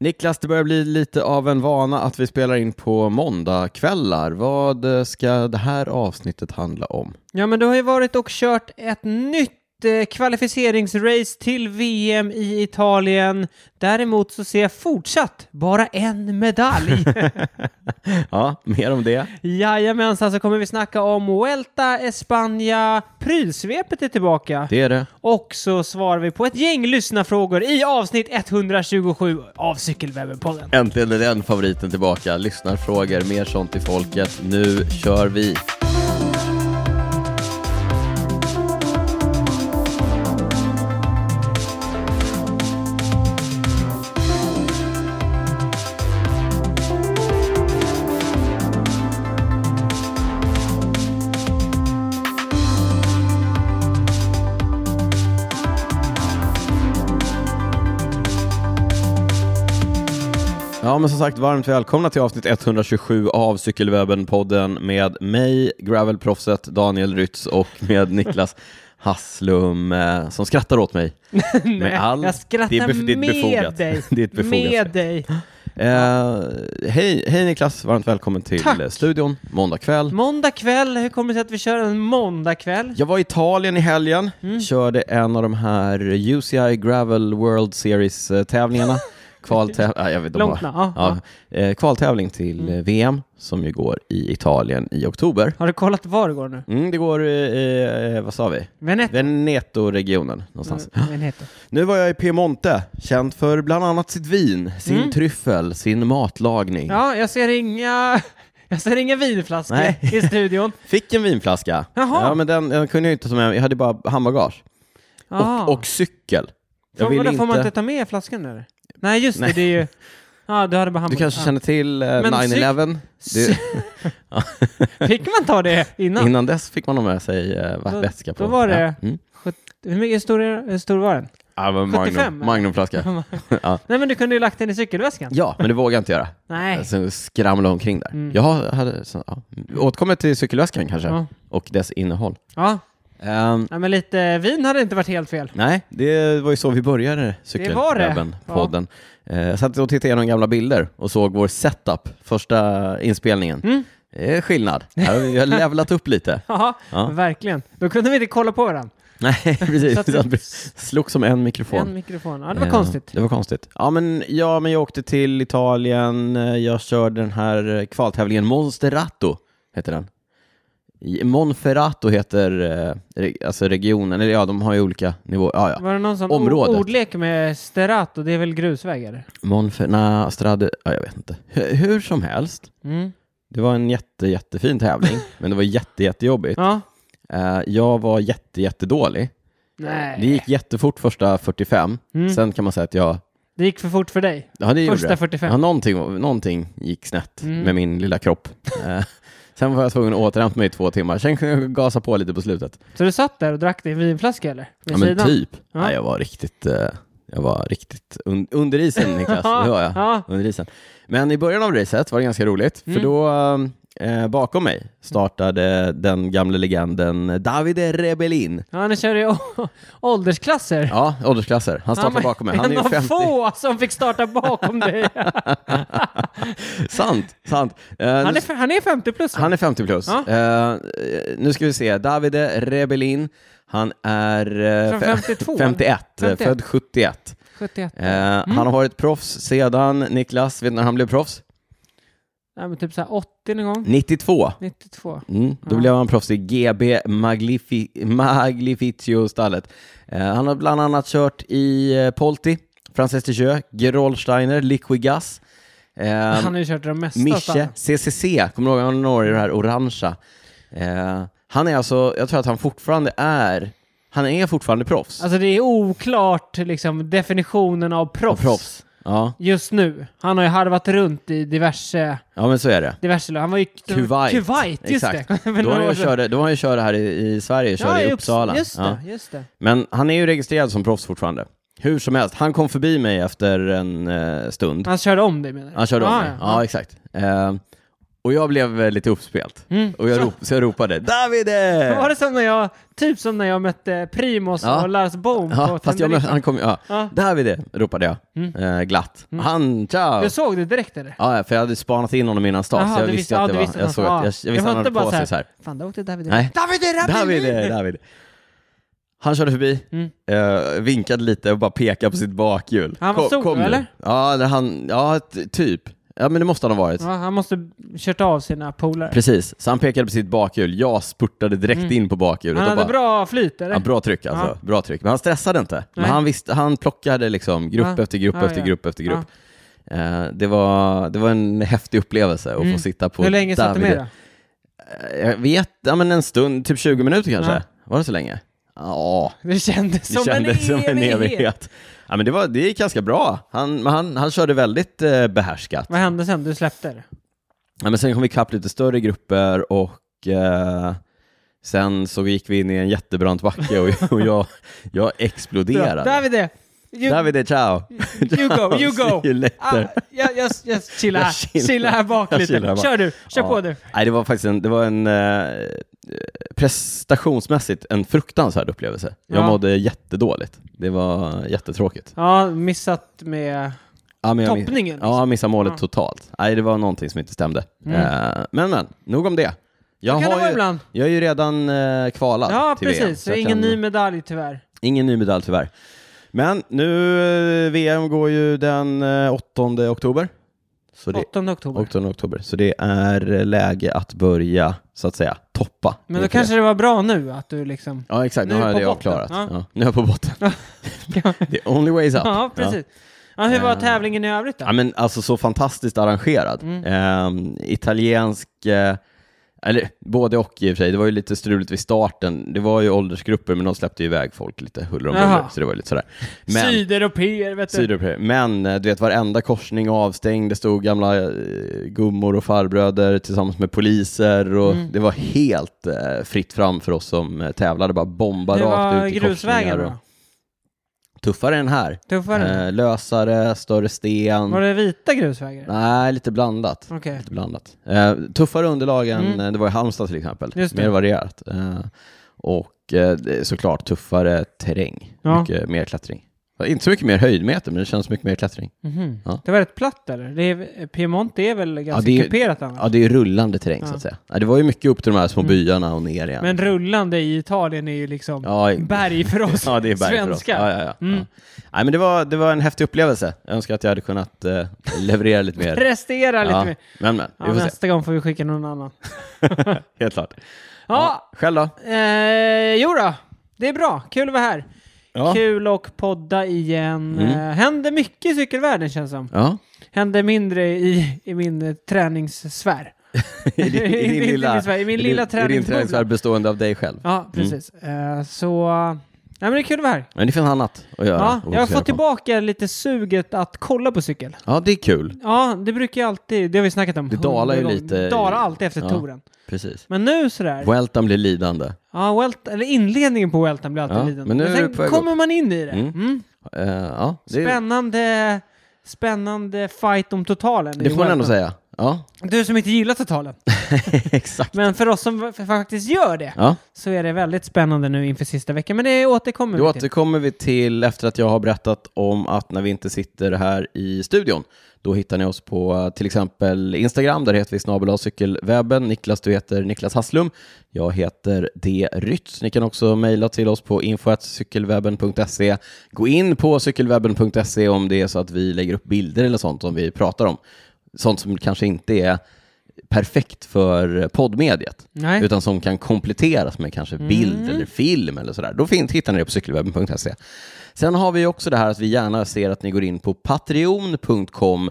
Niklas, det börjar bli lite av en vana att vi spelar in på måndagkvällar. Vad eh, ska det här avsnittet handla om? Ja, men du har ju varit och kört ett nytt eh, kvalificeringsrace till VM i Italien. Däremot så ser jag fortsatt bara en medalj. Ja, mer om det. Jajamensan, så alltså kommer vi snacka om Vuelta, Espanja, prylsvepet är tillbaka. Det är det. Och så svarar vi på ett gäng lyssnarfrågor i avsnitt 127 av Cykelwebben-podden. Äntligen är den favoriten tillbaka. Lyssnarfrågor, mer sånt till folket. Nu kör vi! Ja, men som sagt, varmt välkomna till avsnitt 127 av Cykelwebben-podden med mig, Gravelproffset Daniel Rytz och med Niklas Hasslum eh, som skrattar åt mig. med all... Jag skrattar det är bef- det är med befogat. dig. det är ett befogat med skratt. dig. Eh, hej, hej Niklas, varmt välkommen till Tack. eh, studion, måndag kväll. Måndag kväll, hur kommer det sig att vi kör en måndag kväll? Jag var i Italien i helgen, Mm. körde en av de här UCI Gravel World Series-tävlingarna. Kvaltäv- ah, jag vet, de Långt bara- namn, Mm. ja, ja, eh, kvaltävling till eh, VM som ju går i Italien i oktober. Har du kollat var det går nu? Mm, det går i, eh, vad sa vi? Veneto. Mm. Veneto-regionen någonstans. Veneto. Nu var jag i Piemonte, känd för bland annat sitt vin, sin tryffel, sin matlagning. Mm. Ja, jag ser inga... Jag ser inga vinflaskor Nej. i studion. Fick en vinflaska. Jaha. Ja, men den, den kunde jag inte ta med mig. Jag hade bara handbagage. Ah. Och, och cykel. Jag Får, ville vadå, inte... får man inte ta med flaskan där? Nej, just det, det är ju... Ja, du hade bara Du hamburgare. kanske känner till eh, Men cyk- 9-11? Det- ja. Ah, Fick man ta det innan? Innan dess fick man ha med sig eh, va- Då- väska på. då var det- Ja. Mm. Sjut- Hur mycket stor, är, hur stor var den? Ja, det var en 75, Magnum, eller? magnumflaska. ja. Nej, men du kunde ju lagt den i cykelväskan. ja, men det vågade jag inte göra. Nej. Mm. Sen skramlade omkring där. Jag hade, så, ja. återkommer till cykelväskan kanske, Ja. och dess innehåll. Ja. Ehm, ja, men lite vin hade inte varit helt fel. nej, det var ju så vi började var det. Cykelwebben-podden. Eh, Jag satt och tittade igenom gamla bilder och såg vår setup, första inspelningen. Mm. Det är skillnad. Här har vi vi har levlat upp lite. Ja, Ja. verkligen. Då kunde vi inte kolla på varandra. Nej, Så precis. att det- Det slog som en mikrofon. En mikrofon. Ja, det var Eh, konstigt. Det var konstigt. Ja men, ja, men jag åkte till Italien. eh, Jag körde den här eh, kvaltävlingen Monsterrato, heter den. I- Monferrato heter eh, re- alltså regionen, eller ja, de har ju olika nivåer. Ja, ja. Var det någon sån Området. o- ordlek med sterato? Det är väl grusvägar? Monfer... Na, Strade... Ja, jag vet inte. H- hur som helst, Mm. det var en jätte, jättefin tävling, men det var jätte, jättejobbigt. Ja. Eh, jag var jätte, jättedålig. Nej. Det gick jättefort första 45, Mm. sen kan man säga att jag Det gick för fort för dig. Ja, det gjorde Första det. 45. Ja, någonting, någonting gick snett Mm. med min lilla kropp. Eh, Sen var jag tvungen att återhämta mig i två timmar. Sen kunde jag gasa på lite på slutet. Så du satt där och drack din vinflaska eller? Vid Ja, men sidan? typ. Ja. Nej, jag var riktigt, eh, jag var riktigt un under isen, Niklas. Det var jag. Ja. Under isen. Men i början av racet var det ganska roligt, Mm. för då eh, bakom mig startade den gamla legenden Davide Rebellin. Ja, han kör i å- åldersklasser. Ja, åldersklasser. Han startade var bakom mig. Han är en ju av 50. få som fick starta bakom dig. Sant, sant. Eh, Han är, f- han är 50 plus. va? Han är 50 plus. Ja. Eh, nu ska vi se. Davide Rebellin. Han är eh, Från fe- 52. 51, eh, 51. född 71. 71. Eh, Mm. Han har varit proffs sedan, Niklas, vet du när han blev proffs? Nej, men typ så här 80 någon gång. 92. 92. Mm, då Ja. blev han proffs i GB Maglifi- Maglifitio-stallet. Eh, han har bland annat kört i eh, Polti, Frances Tichö, Gerolsteiner, Liquigas, eh, han har ju kört de mesta. Mische, stallen. CCC, kommer du ihåg han har i det här orangea? Eh, han är alltså, jag tror att han fortfarande är, han är fortfarande proffs. Alltså det är oklart liksom definitionen av proffs. proffs. Ja, Just nu. Han har ju harvat runt i diverse... ja men så är det. diverse land. Han var ju Kuwait. Kuwait just Exakt. det. För Då har några år jag sedan. körde, då har han ju kört här i, i Sverige, körde i Upps- Uppsala. Just Ja. det, just det. Men han är ju registrerad som proffs fortfarande. Hur som helst, han kom förbi mig efter en eh, stund. Han körde om dig menar du? Han körde om Ah, mig. ja. Ja, exakt. Eh, Och jag blev eh, lite uppspelt. Mm. Och jag Så. rop, så jag ropade Davide! Var det som när jag, typ som när jag mötte Primus Ja. och Lars Bohm Ja, på fast jag, Tenderika? han kom, ja. Ja. Davide ropade jag Mm. eh, glatt. Han, ciao! Du såg det direkt eller? Ja, för jag hade spanat in honom innan start, så jag du visste ju att ja, det du var... visste Jag, något. såg Ja. att, jag, jag visste han fattar hade bara på sig så här. Fan, där åkte David. Nej. David, David, Davide, Davide. Han körde förbi, Mm. eh, vinkade lite och bara pekade på sitt bakhjul. Han var Kom- solo, kom nu. eller? Ja, det, han, ja, t- typ. Ja, men det måste han ha varit. Ja, han måste kört av sina polare. Precis, så han pekade på sitt bakhjul. Jag spurtade direkt in på bakhjulet. Mm. Han och hade bara, bra flyt eller? Ja, bra tryck alltså. Bra tryck. Men han stressade inte. Men Nej. han, visste, han plockade liksom grupp Ja. efter grupp Ja, efter ja. grupp efter grupp. Eh, det, var, det var en häftig upplevelse att få sitta på Mm. Hur länge satt du med Davide. då? Eh, Jag vet, ja men en stund, typ 20 minuter kanske. Ja. Var det så länge? Ja, Det kändes det som, kändes en, som en evighet. Ja, men det, var, det gick ganska bra. Han, men han, han körde väldigt eh, behärskat. Vad hände sen? Du släppte det? Ja, men sen kom vi ikapp lite större grupper och eh, sen så gick vi in i en jättebrant backe och, och jag, jag exploderade. Davide! You, Davide, ciao! you go, you go! See you Ah, later. jag, jag, jag chillar Jag här. chillar. Chilla här bak Jag lite. chillar här bak. Kör du, kör Ja. på du. Nej, det var faktiskt en, det var en eh, prestationsmässigt en fruktansvärd upplevelse. Jag Ja. mådde jättedåligt. Det var jättetråkigt. Ja, missat med... Ja, men jag miss- Toppningen, liksom. Ja, jag missade målet Ja. totalt. Nej, det var någonting som inte stämde. Eh, men, men, nog om det. Jag, Det Mm. kan det har vara ju, ibland. jag är ju redan eh, kvalad Ja, till VM, precis. så jag Ingen kan- ny medalj tyvärr. ingen ny medalj tyvärr. Men nu, eh, VM går ju den eh, 8 oktober. Så det, 8 oktober. 8 oktober. Så det är eh, läge att börja, så att säga, toppa. Men då inför kanske det var bra nu att du liksom... Ja exakt, nu, Nu har jag på det botten. avklarat. Ja. Ja, nu är jag på botten. The only way is up. Ja, precis. Ja, hur var Eh. tävlingen i övrigt Ja, då? men alltså så fantastiskt arrangerad. Mm. Ehm, italiensk, eh, eller både och i och för sig, det var ju lite struligt vid starten. Det var ju åldersgrupper men de släppte ju iväg folk lite huller om buller, Jaha. så det var ju lite sådär. Men, Sydeuropéer, vet du. Sydeuropé. Men eh, du vet, varenda korsning och avstängd, det stod gamla eh, gummor och farbröder tillsammans med poliser och Mm. det var helt eh, fritt fram för oss som eh, tävlade, bara bomba Hur rakt var ut i grusvägen korsningar. Och... då? Tuffare än här. Tuffare? Eh, lösare, större sten. Var det vita grusvägar? Nej, lite blandat. Okej. Lite blandat. Eh, tuffare underlag än Mm. eh, det var i Halmstad till exempel. Just det. Mer varierat. Eh, och eh, det är såklart tuffare terräng. Ja. Mycket mer klättring. Inte så mycket mer höjdmeter, men det känns mycket mer klättring. Mhm. Ja. Det var rätt platt eller? Det är, Piemonte är väl ganska det är- kuperat annars? Ja, det är ju rullande terräng så Ja. Mm. att säga. Ja, det var ju mycket upp till de här små byarna och ner igen. Men rullande i Italien är ju liksom ja, i- berg för oss ja, det är berg för oss. svenskar. Ja, ja, ja. Mm. Ja. Nej, men det var, det var en häftig upplevelse. Jag önskar att jag hade kunnat eh, leverera lite mer. Prestera lite Ja, mer. Men, men. Vi Ja, får se. nästa gång får vi skicka någon annan. Helt klart. Ja, Själv då? eh, jo då. det är bra. Kul att vara här. Ja. Kul och podda igen. Mm. Eh, händer mycket i cykelvärlden känns som. Ja. Händer mindre i, i min eh, träningssfär. I din, I i din din lilla, träningsvärld, i min i din- lilla I din träningsbubbla. träningsvärld bestående av dig själv. Ja, precis. Eh, så, nej men det är kul att vara här. Men det finns annat att göra. Ja, och jag fokusera har fått på. tillbaka lite suget att kolla på cykel. Ja, det är kul. Ja, det brukar jag alltid, det har vi snackat om. Det dalar ju hundra gånger. lite i- dalar alltid efter Ja. touren. Precis. Men nu sådär. Welton blir lidande. ja, welt, eller inledningen på Welton blir alltid Ja, lidande. men nu är sen du på väg kommer man in i det. Mm. Mm. Eh, ja, det, Spännande, spännande fight om totalen. det i får man ändå Welton. säga. Ja, Du som inte gillar totalen. exakt. Men för oss som f- faktiskt gör det Ja. så är det väldigt spännande nu inför sista veckan. Men det återkommer Då vi till. återkommer vi till efter att jag har berättat om att när vi inte sitter här i studion, då hittar ni oss på eh, till exempel Instagram, där heter vi snabel A cykelwebben. Niklas, du heter Niklas Hasslum. Jag heter D. Rytz. Ni kan också mejla till oss på info.cykelwebben.se. Gå in på cykelwebben.se om det är så att vi lägger upp bilder eller sånt som vi pratar om. Sånt som kanske inte är perfekt för poddmediet Nej. Mm. utan som kan kompletteras med kanske bild eller film eller sådär. Då finns, hittar ni det på cykelwebben.se. Sen har vi ju också det här att vi gärna ser att ni går in på patreon.com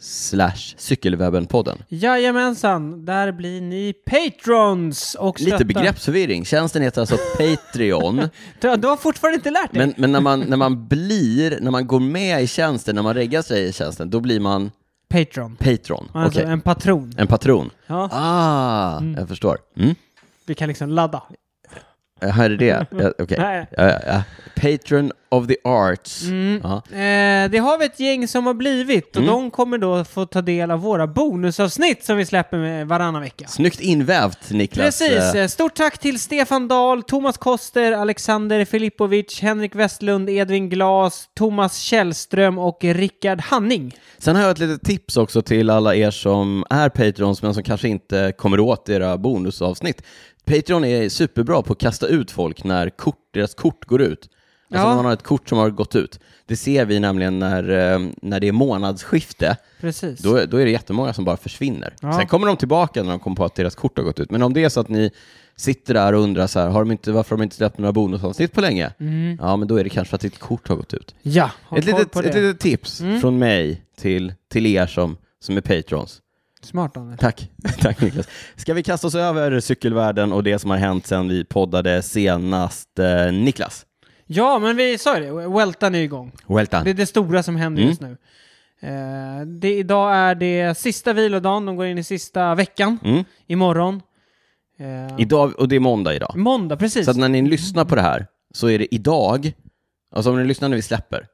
slash cykelwebbenpodden. Jajamensan, där blir ni patrons och Lite stöttar- begreppsförvirring. Tjänsten heter alltså Patreon, Du, du har fortfarande inte lärt dig? men, men när, man, när man blir, när man går med i tjänsten, när man reggar sig i tjänsten, då blir man Patron. Patron. Alltså Okej, en patron. en patron. Ja, Ah, jag förstår. Mm. vi kan liksom ladda. Jaha, är det det? Ja, Okej. Nej. Ja, ja, ja. Patron of the arts. Ja. Eh, det har vi ett gäng som har blivit och Mm. de kommer då få ta del av våra bonusavsnitt som vi släpper med varannan vecka. Snyggt invävt, Niklas. Precis. Eh, Eh, Stort tack till Stefan Dahl, Thomas Koster, Alexander Filippovic, Henrik Westlund, Edvin Glas, Thomas Källström och Rickard Hanning. Sen har jag ett litet tips också till alla er som är Patrons men som kanske inte kommer åt era bonusavsnitt. Patreon är superbra på att kasta ut folk när kort, deras kort går ut. Alltså Ja. när man har ett kort som har gått ut. Det ser vi nämligen när, eh, när det är månadsskifte. Precis. Då, då är det jättemånga som bara försvinner. Ja. Sen kommer de tillbaka när de kommer på att deras kort har gått ut. Men om det är så att ni sitter där och undrar så här, har de inte, varför har de inte släppt några bonusavsnitt på länge? Mm. Ja, men då är det kanske för att ditt kort har gått ut. Ja, håll Ett koll litet, på det. Mm. ett litet tips från mig till, till er som, som är patrons. Smart Daniel. Tack. Tack Niklas. Ska vi kasta oss över cykelvärlden och det som har hänt sedan vi poddade senast? Eh, Niklas, Ja, men vi sa ju det. Weltan är igång. well done. Det är det stora som händer Mm. just nu. Eh, det, idag är det sista vilodagen, de går in i sista veckan. Mm. Imorgon. Eh, Idag, och det är måndag idag. måndag, precis. Så att när ni lyssnar på det här så är det idag, alltså om ni lyssnar när vi släpper,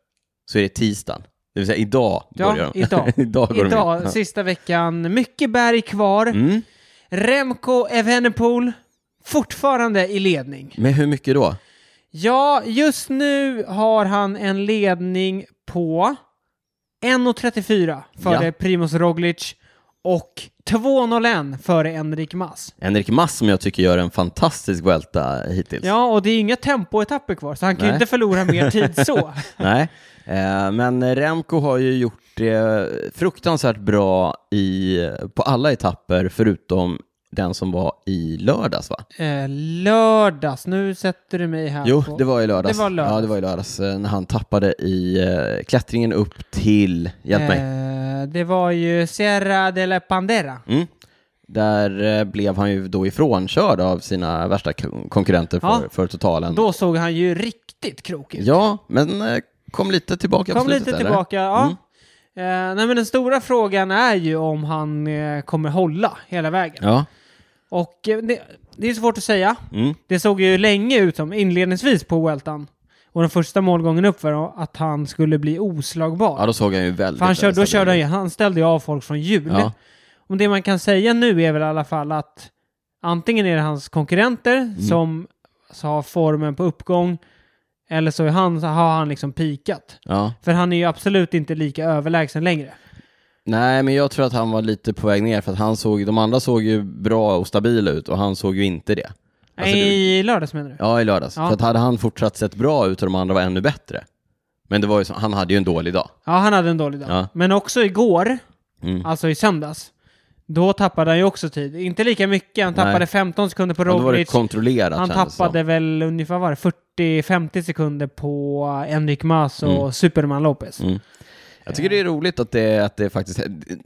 så är det tisdagen. Det vill säga idag börjar ja, de. idag. idag går de idag, in. sista veckan. Mycket berg kvar. Ja. Mm. Remco Evenepoel, fortfarande i ledning. Men hur mycket då? Ja, just nu har han en ledning på 1.34 före Ja. Primoz Roglic och 2.01 före Enrik Mas. Henrik Mass som jag tycker gör en fantastisk välta hittills. Ja, och det är ju inga tempoetapper kvar, så han kan ju Nej. inte förlora mer tid så. Nej, eh, men Remco har ju gjort det fruktansvärt bra i, på alla etapper förutom den som var i lördags va? Eh, lördags, nu sätter du mig här Jo, på... det var i lördags. Det var lördags. Ja, det var i lördags eh, när han tappade i eh, klättringen upp till, hjälp mig, Eh, det var ju Sierra de la Pandera. mm. där eh, blev han ju då ifrånkörd av sina värsta kon- konkurrenter för, Ja. för totalen. Då såg han ju riktigt krokig ut. Ja, men eh, kom lite tillbaka på Kom slutet lite eller? tillbaka, ja. Mm. Eh, nej men den stora frågan är ju om han eh, kommer hålla hela vägen. Ja, Och eh, det, det är svårt att säga. mm. Det såg ju länge ut som inledningsvis på Weltan och den första målgången upp var att han skulle bli oslagbar. ja då såg han ju väldigt... För han kör, då väldigt körde han, ju- han ställde ju av folk från hjul. Ja. Och det man kan säga nu är väl i alla fall att antingen är det hans konkurrenter Mm. som så har formen på uppgång eller så, är han, så har han liksom pikat. Ja. För han är ju absolut inte lika överlägsen längre. Nej, men jag tror att han var lite på väg ner för att han såg, de andra såg ju bra och stabila ut och han såg ju inte det. Alltså, det- I lördags menar du? Ja, i lördags. Ja. För att hade han fortsatt sett bra ut och de andra var ännu bättre. Men det var ju så, han hade ju en dålig dag. Ja, han hade en dålig dag. Ja. Men också igår, Mm. alltså i söndags, då tappade han ju också tid. Inte lika mycket, han tappade Nej. 15 sekunder på Och då var det Roglic. kontrollerat Han kändes det som. tappade väl ungefär vad var det 40-50 sekunder på Enric Mas och Superman Lopez. Mm. Jag tycker det är roligt att det, att det faktiskt,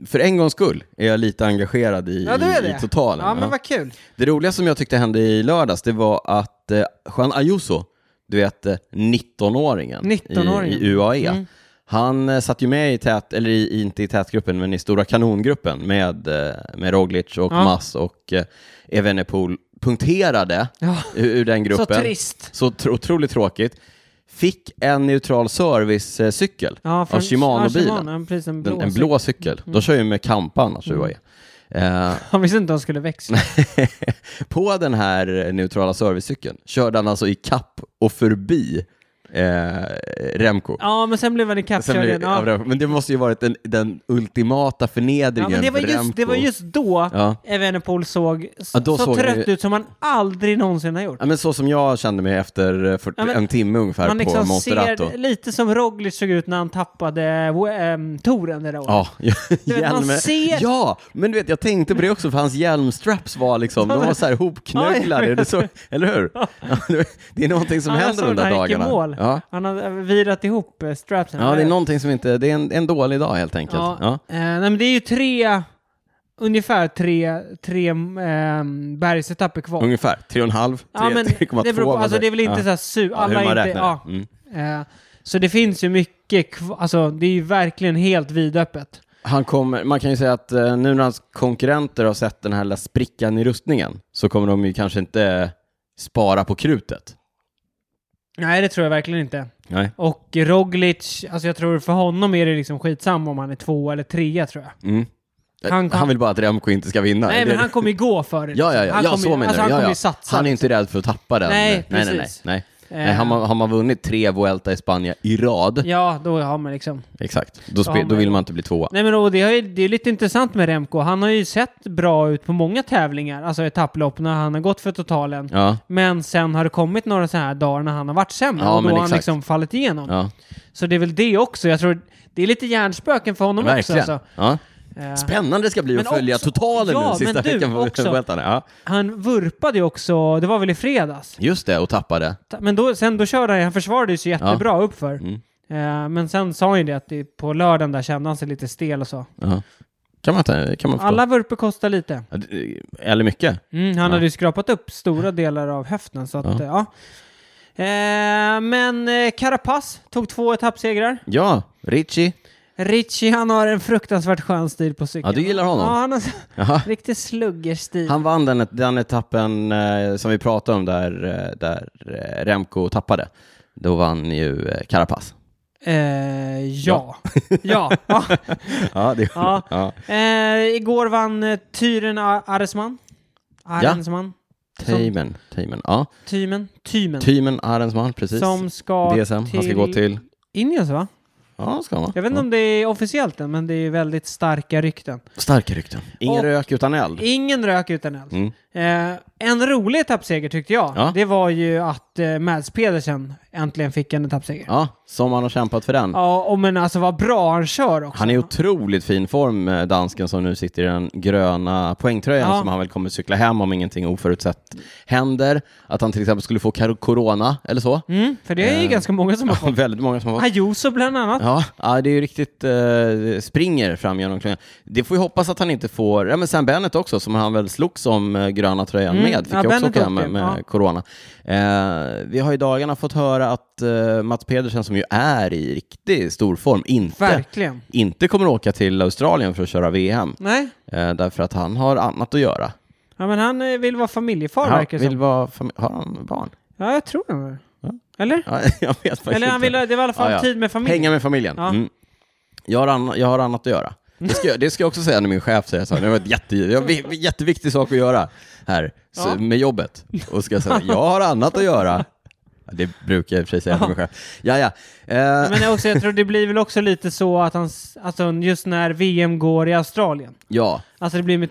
för en gångs skull är jag lite engagerad i, Ja, du är i det. totalen. Ja, Ja. men vad kul. Det roliga som jag tyckte hände i lördags, det var att eh, Juan Ayuso, du vet eh, 19-åringen, 19-åringen. I, E. i UAE, Mm. han eh, satt ju med i tät, eller i, i- inte i tätgruppen, men i stora kanongruppen med, eh, med Roglic och Ja. Mas och eh, Evenepoel, punkterade Ja. ur, ur den Så gruppen. trist. Så tr- otroligt tråkigt. Fick en neutral servicecykel Ja, för av en- Ja, Shimano-bilen. Shimano, ja, precis, en blå. Mm. Den- en blå cykel. De kör ju med Kampa annars, UAE. Eh, Han visste inte att han skulle växla. på den här neutrala servicecykeln körde han alltså i kapp och förbi eh, Remco. ja, men sen blev han Sen ikappkörd blev- igen. av Ja. Remco. Men det måste ju varit den, den ultimata Ja, förnedringen men det var för Remco. just, det var just då Ja. Evenepoel såg s- Ja, då så såg han trött ju- ut som han aldrig någonsin har gjort. Ja, men så som jag kände mig efter eh, 40, Ja, men en timme ungefär Man på liksom Monsterrato. ser lite som Roglic såg ut när han tappade um, touren det där året. Ja, vet, man hjälmen. ser- Ja, men du vet, jag tänkte på det också, för hans hjälmstraps var liksom, de var så här Ja, hopknöglade, det så, eller hur? Ja, det är någonting som Ja, jag händer såg de där när han gick i dagarna. mål. Ja. Han hade virat ihop eh, strapsen. ja, det är någonting som inte, det är en, en dålig dag helt enkelt. Ja. Ja. Eh, nej, men det är ju tre, ungefär tre, tre um, bergsetapper kvar. Ungefär, 3,5, ja, men 3,2. det, beror, på- vad alltså, det- det är väl inte ja. så här su... Ja, alla hur man är inte... räknar Ja. det. Mm. Eh, så det finns ju mycket kvar. Alltså, det är ju verkligen helt vidöppet. Han kommer, man kan ju säga att eh, nu när hans konkurrenter har sett den här lilla sprickan i rustningen så kommer de ju kanske inte spara på krutet. Nej, det tror jag verkligen inte. Nej. Och Roglic, alltså jag tror för honom är det liksom skitsamma om han är två eller trea tror jag. Mm. Han, Han- vill bara att Remco inte ska vinna. Nej, Det- men han kommer ju gå för det. Ja, ja, ja, han ja kommer ju- så menar alltså, du. han Ja, kommer ja. ju satsa. Han är inte rädd för att tappa den. Nej, nej, nej, nej, precis. nej. Eh, nej har, man, har man vunnit tre Vuelta i Spanien i rad, Ja, då har man liksom... exakt, då, spe, Ja, men- då vill man inte bli tvåa. Nej men och det, har ju, det är lite intressant med Remco. Han har ju sett bra ut på många tävlingar, alltså etapplopp, när han har gått för totalen. Ja, Men sen har det kommit några sådana här dagar när han har varit sämre Ja, och då men har han exakt. liksom fallit igenom. ja, Så det är väl det också. Jag tror det är lite hjärnspöken för honom verkligen. också. Alltså. Ja. Eh, Spännande det ska bli att Men följa också- totalen ja, nu sista men du, veckan på också. Vueltan. Ja, han vurpade ju också, det var väl i fredags. just det, och tappade. Ta- Men då, sen då körde han, han försvarade sig jättebra uppför. Mm. Eh, men sen sa han ju det att det, på lördagen där kände han sig lite stel och så. Ja. Kan man, ta- kan man förstå. Alla vurpor kostar lite. Ja, det- Eller mycket. Mm, han hade ju skrapat upp stora delar av höften så att, eh, ja. Eh, men eh, Carapaz tog två etappsegrar. Ja, Richie. Richie han har en fruktansvärt skön stil på cykeln. Ja, du gillar honom. Ja, han har Jaha. riktig sluggerstil. Han vann den, den etappen eh, som vi pratade om där, eh, där eh, Remco tappade. Då vann ju eh, Carapaz. Eh, ja. ja. ja. Ja, det Ja. Ja. Eh, igår vann eh, Tyren A- Aresman. Arensman. Teimen, Teimen, ja. Tymen. Tymen. Tymen Arensman, precis. Som ska DSM, han ska gå till... Indiens va? Ja, ska man. Jag vet inte om det är officiellt än, men det är väldigt starka rykten. Starka rykten. Ingen Och- rök utan eld. Ingen rök utan eld. Mm. Eh, en rolig etappseger tyckte jag. Ja. Det var ju att eh, Mads Pedersen äntligen fick en etappseger. Ja, Ja, som han har kämpat för den. och men alltså vad bra han kör också. Han är i otroligt fin form, eh, dansken som nu sitter i den gröna poängtröjan Ja. som han väl kommer cykla hem om ingenting oförutsett händer. Att han till exempel skulle få kar- corona eller så. mm, för det är ju Eh, ganska många som har fått. Väldigt många som har fått. Ayuso bland annat. Ja, ja, det är ju riktigt eh, springer fram genom klungan. Det får vi hoppas att han inte får, ja men Sam Bennett också som han väl slogs om eh, gröna tröjan Mm, med, fick ja, jag också Bennett åka hem med, åkte, med ja. corona. Eh, vi har i dagarna fått höra att eh, Mats Pedersen som ju är i riktig stor form inte, Verkligen. inte kommer åka till Australien för att köra VM. Nej, Eh, därför att han har annat att göra. ja, men han eh, vill vara familjefar Han verkar det vill som. vara fami- har han barn? Ja, jag tror han är. Ja. Eller? Ja, jag vet faktiskt Eller han inte. vill, det var i alla fall Ja, ja. tid med familjen. Hänga med familjen. Ja. Mm. Jag, har anna, jag har annat att göra. Det ska, jag- det ska jag också säga när min chef säger så här, det var ett jätte, jag har en jätteviktig sak att göra här så, Ja. med jobbet. Och ska jag säga, jag har annat att göra. Ja, Det brukar jag i och för sig säga till min chef. Ja, ja. Eh, Men också, jag tror det blir väl också lite så att han, s- alltså just när VM går i Australien. ja. Alltså det blir med,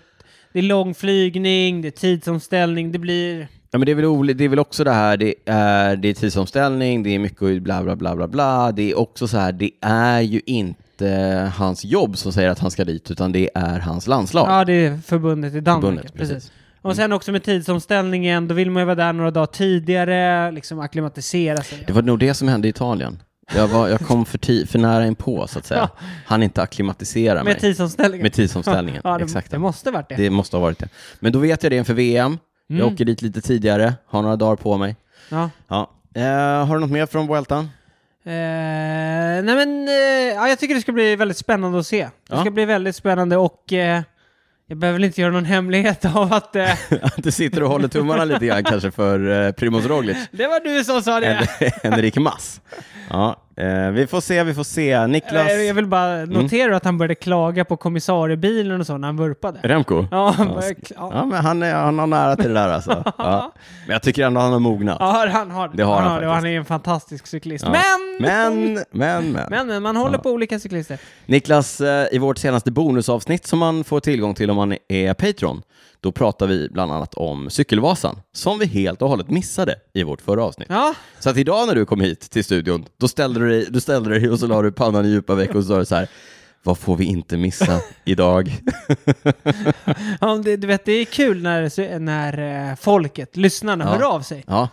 det är lång flygning, det är tidsomställning, det blir... Ja, men det, är väl, oli- det är väl också det här, det är, det är tidsomställning, det är mycket bla bla bla bla bla. Det är också så här, det är ju inte hans jobb som säger att han ska dit, utan det är hans landslag. Ja, det är förbundet i Danmark. Förbundet, precis. precis. Mm. Och sen också med tidsomställningen, då vill man ju vara där några dagar tidigare, liksom acklimatisera sig. Det var nog det som hände i Italien. Jag, var, jag kom för, ti, för nära inpå, så att säga. Han inte acklimatisera med mig tidsomställningen. med tidsomställningen. ja, det, Exakt. det måste varit det. Det måste ha varit det. Men då vet jag det inför VM. Jag Mm. åker dit lite tidigare, har några dagar på mig. Ja. Ja. Eh, har du något mer från Vueltan? Eh, nej men, eh, ja, jag tycker det ska bli väldigt spännande att se. Det Ja. ska bli väldigt spännande och eh, jag behöver väl inte göra någon hemlighet av att eh, du sitter och håller tummarna lite grann kanske för eh, Primoz Roglic. det var du som sa det. Hen- Henrik Mass. Ja, eh, vi får se, vi får se. Niklas Eh, Jag vill bara Mm. notera att han började klaga på kommissariebilen och så när han vurpade. Remco. Ja, han Ja, började s- kla- ja. Ja, men han, är, han har nära till det där alltså. Ja. Men jag tycker ändå han har mognat. ja, han har Det har han det. och faktiskt. Han är ju en fantastisk cyklist. Ja. Men! Men, men, men. Men, men, man håller på olika cyklister. Niklas, eh, i vårt senaste bonusavsnitt som man får tillgång till om man är Patreon, då pratar vi bland annat om Cykelvasan, som vi helt och hållet missade i vårt förra avsnitt. Ja, Så att idag när du kom hit till studion, då ställde du dig, du ställde dig och så la du pannan i djupa veck och så sa du så här, vad får vi inte missa idag? ja men det, du vet, det är kul när, cy- när eh, folket, lyssnarna, Ja. hör av sig. Ja,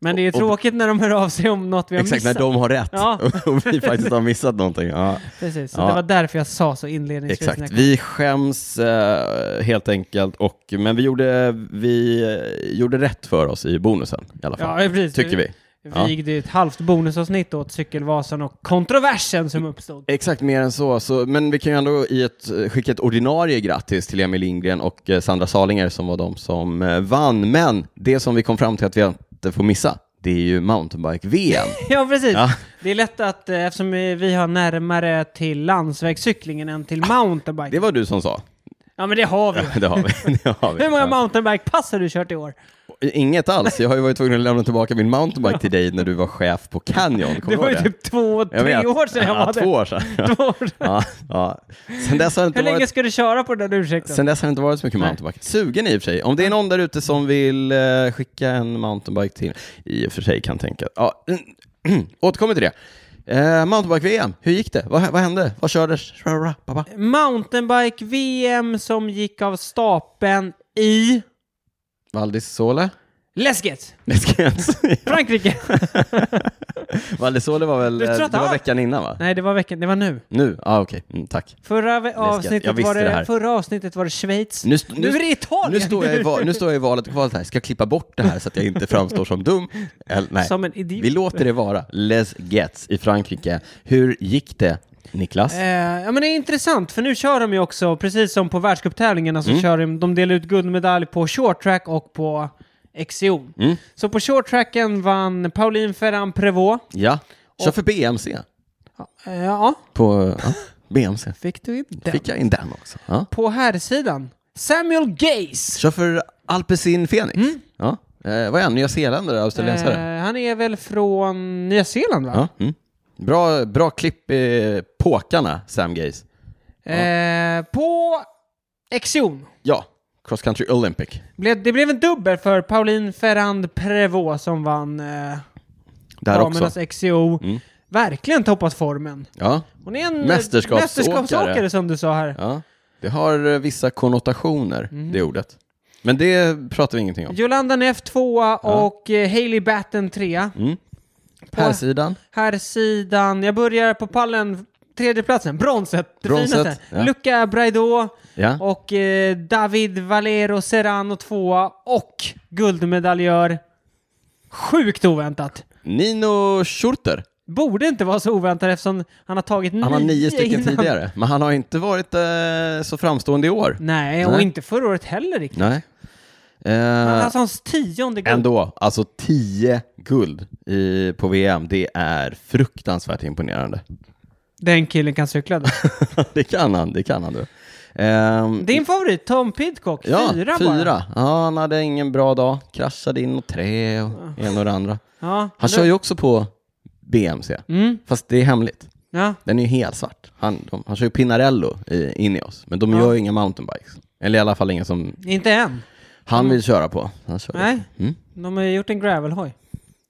Men det är Och- och- tråkigt när de hör av sig om något vi har exakt, när missat. de har rätt Ja. och vi faktiskt har missat någonting. Ja. Precis, så Ja. det var därför jag sa så inledningsvis. när Exakt, jag- vi skäms eh, helt enkelt, och, men vi gjorde, vi eh, gjorde rätt för oss i bonusen i alla fall. Ja, precis. Tycker vi. Ja. vigde ett halvt bonusavsnitt åt Cykelvasan och kontroversen Mm. som uppstod. Exakt, mer än så. så men vi kan ju ändå i ett, eh, skicka ett ordinarie grattis till Emil Lindgren och eh, Sandra Salinger som var de som eh, vann. Men det som vi kom fram till att vi inte får missa, det är ju mountainbike-VM. Ja, precis. Ja. Det är lätt att, eh, eftersom vi vi har närmare till landsvägscyklingen än till mountainbike. Det var du som sa. Ja, men det har vi ju. Ja, Det har vi. Det har vi. Hur många Ja. mountainbike-pass har du kört i år? Inget alls. Jag har ju varit tvungen att lämna tillbaka min mountainbike till dig när du var chef på Canyon. Kommer Det var du ju ihåg typ två, tre Jag vet. år sedan jag ja, var där. Två år sedan. Två år sedan. Ja, ja. Sen dess har det Hur inte länge varit ska du köra på den där ursäkten? Sen dess har det inte varit så mycket Nej. mountainbike. Sugen i och för sig. Om det är någon där ute som vill eh, skicka en mountainbike till, i och för sig kan tänka. Ja, återkommer till det. Eh, mountainbike-VM, hur gick det? Vad, vad hände? Vad kördes? Rara, pappa. Mountainbike-VM som gick av stapeln i... Valdis Sole? Läskigt! Läskens. Frankrike! Valdis Sole var väl, Du tror eh, att det var han- veckan innan va? Nej, det var veckan, det var nu. Nu? Ja, ah, okej. Mm, tack. Förra, ve- jag avsnittet visste var det det, här. förra avsnittet var det Schweiz. Nu, st- nu är det Italien! nu står jag i, va- nu står jag i valet och kvalet här. Ska jag klippa bort det här så att jag inte framstår som dum? Eller, nej. Som en typ. idiot. Vi låter det vara. Les Gets i Frankrike. Hur gick det, Niklas? Eh, ja men det är intressant, för nu kör de ju också, precis som på världscuptävlingarna, så Mm. kör de, de delar ut guldmedalj på short track och på XCO. Mm. Så på short tracken vann Pauline Ferrand Prévot. Ja, kör för BMC. Eh, ja, På ja, BMC. fick du in den. Fick jag in den också. Ja. På här sidan Samuel Gaze. Kör för Alpecin Phoenix. Ja. Eh, vad är han? Nya Zeeländare? Australiensare? Mm. Eh, han är väl från Nya Zeeland va? Ja. Mm. Bra, bra klipp i påkarna, Sam Gaze. Eh, på Exion. Ja, Cross Country Olympic. Blev, det blev en dubbel för Pauline Ferrand Prévot som vann eh, Där också. Mm. damernas XCO. Verkligen toppat formen. Ja. Hon är en eh, Mästerskapsåkare. mästerskapsåkare som du sa här. Ja, det har eh, vissa konnotationer, Mm. det ordet. Men det pratar vi ingenting om. Jolanda Neff tvåa och eh, Hailey Batten trea. På Här sidan, här sidan, jag börjar på pallen, tredjeplatsen, bronset, det Bronset, finaste. ja. Luca Braido ja. och eh, David Valero Serrano tvåa och guldmedaljör. Sjukt oväntat. Nino Schurter. Borde inte vara så oväntat eftersom han har tagit Han har nio stycken Mm, innan. tidigare, men han har inte varit eh, så framstående i år. Nej, och Nej. inte förra året heller riktigt. Nej. Han har Eh, alltså hans tionde guld. ändå, alltså tio guld i, på VM, det är fruktansvärt imponerande. Den killen kan cykla då. det kan han, det kan han du. Ehm, Din favorit, Tom Pidcock, ja, fyra, bara. fyra. Ja, han hade ingen bra dag, kraschade in och trä och en och det andra. Ja, Han det- kör ju också på BMC, Mm, fast det är hemligt. ja. Den är ju helt svart. Han, de, han kör ju Pinarello i, in i oss, men de gör ju inga mountainbikes. Eller i alla fall inga som Inte än. han vill köra på. Han kör Nej. Mm. De har ju gjort en gravelhoj.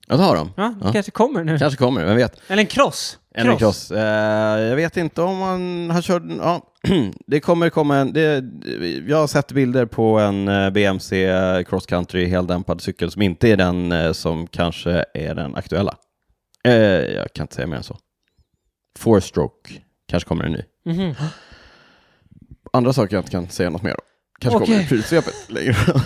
Ja, det har de. Ja, det kanske kommer nu. Kanske kommer, vem vet? Eller en cross. En cross. Eh, jag vet inte om han, han körde... Ja. det kommer komma en... Det, jag har sett bilder på en eh, BMC cross country heldämpad cykel som inte är den eh, som kanske är den aktuella. Eh, jag kan inte säga mer än så. Four stroke kanske kommer en ny. Mhm. Andra saker jag inte kan säga något mer om. Kanske kommer Okej. i prylsvepet längre fram.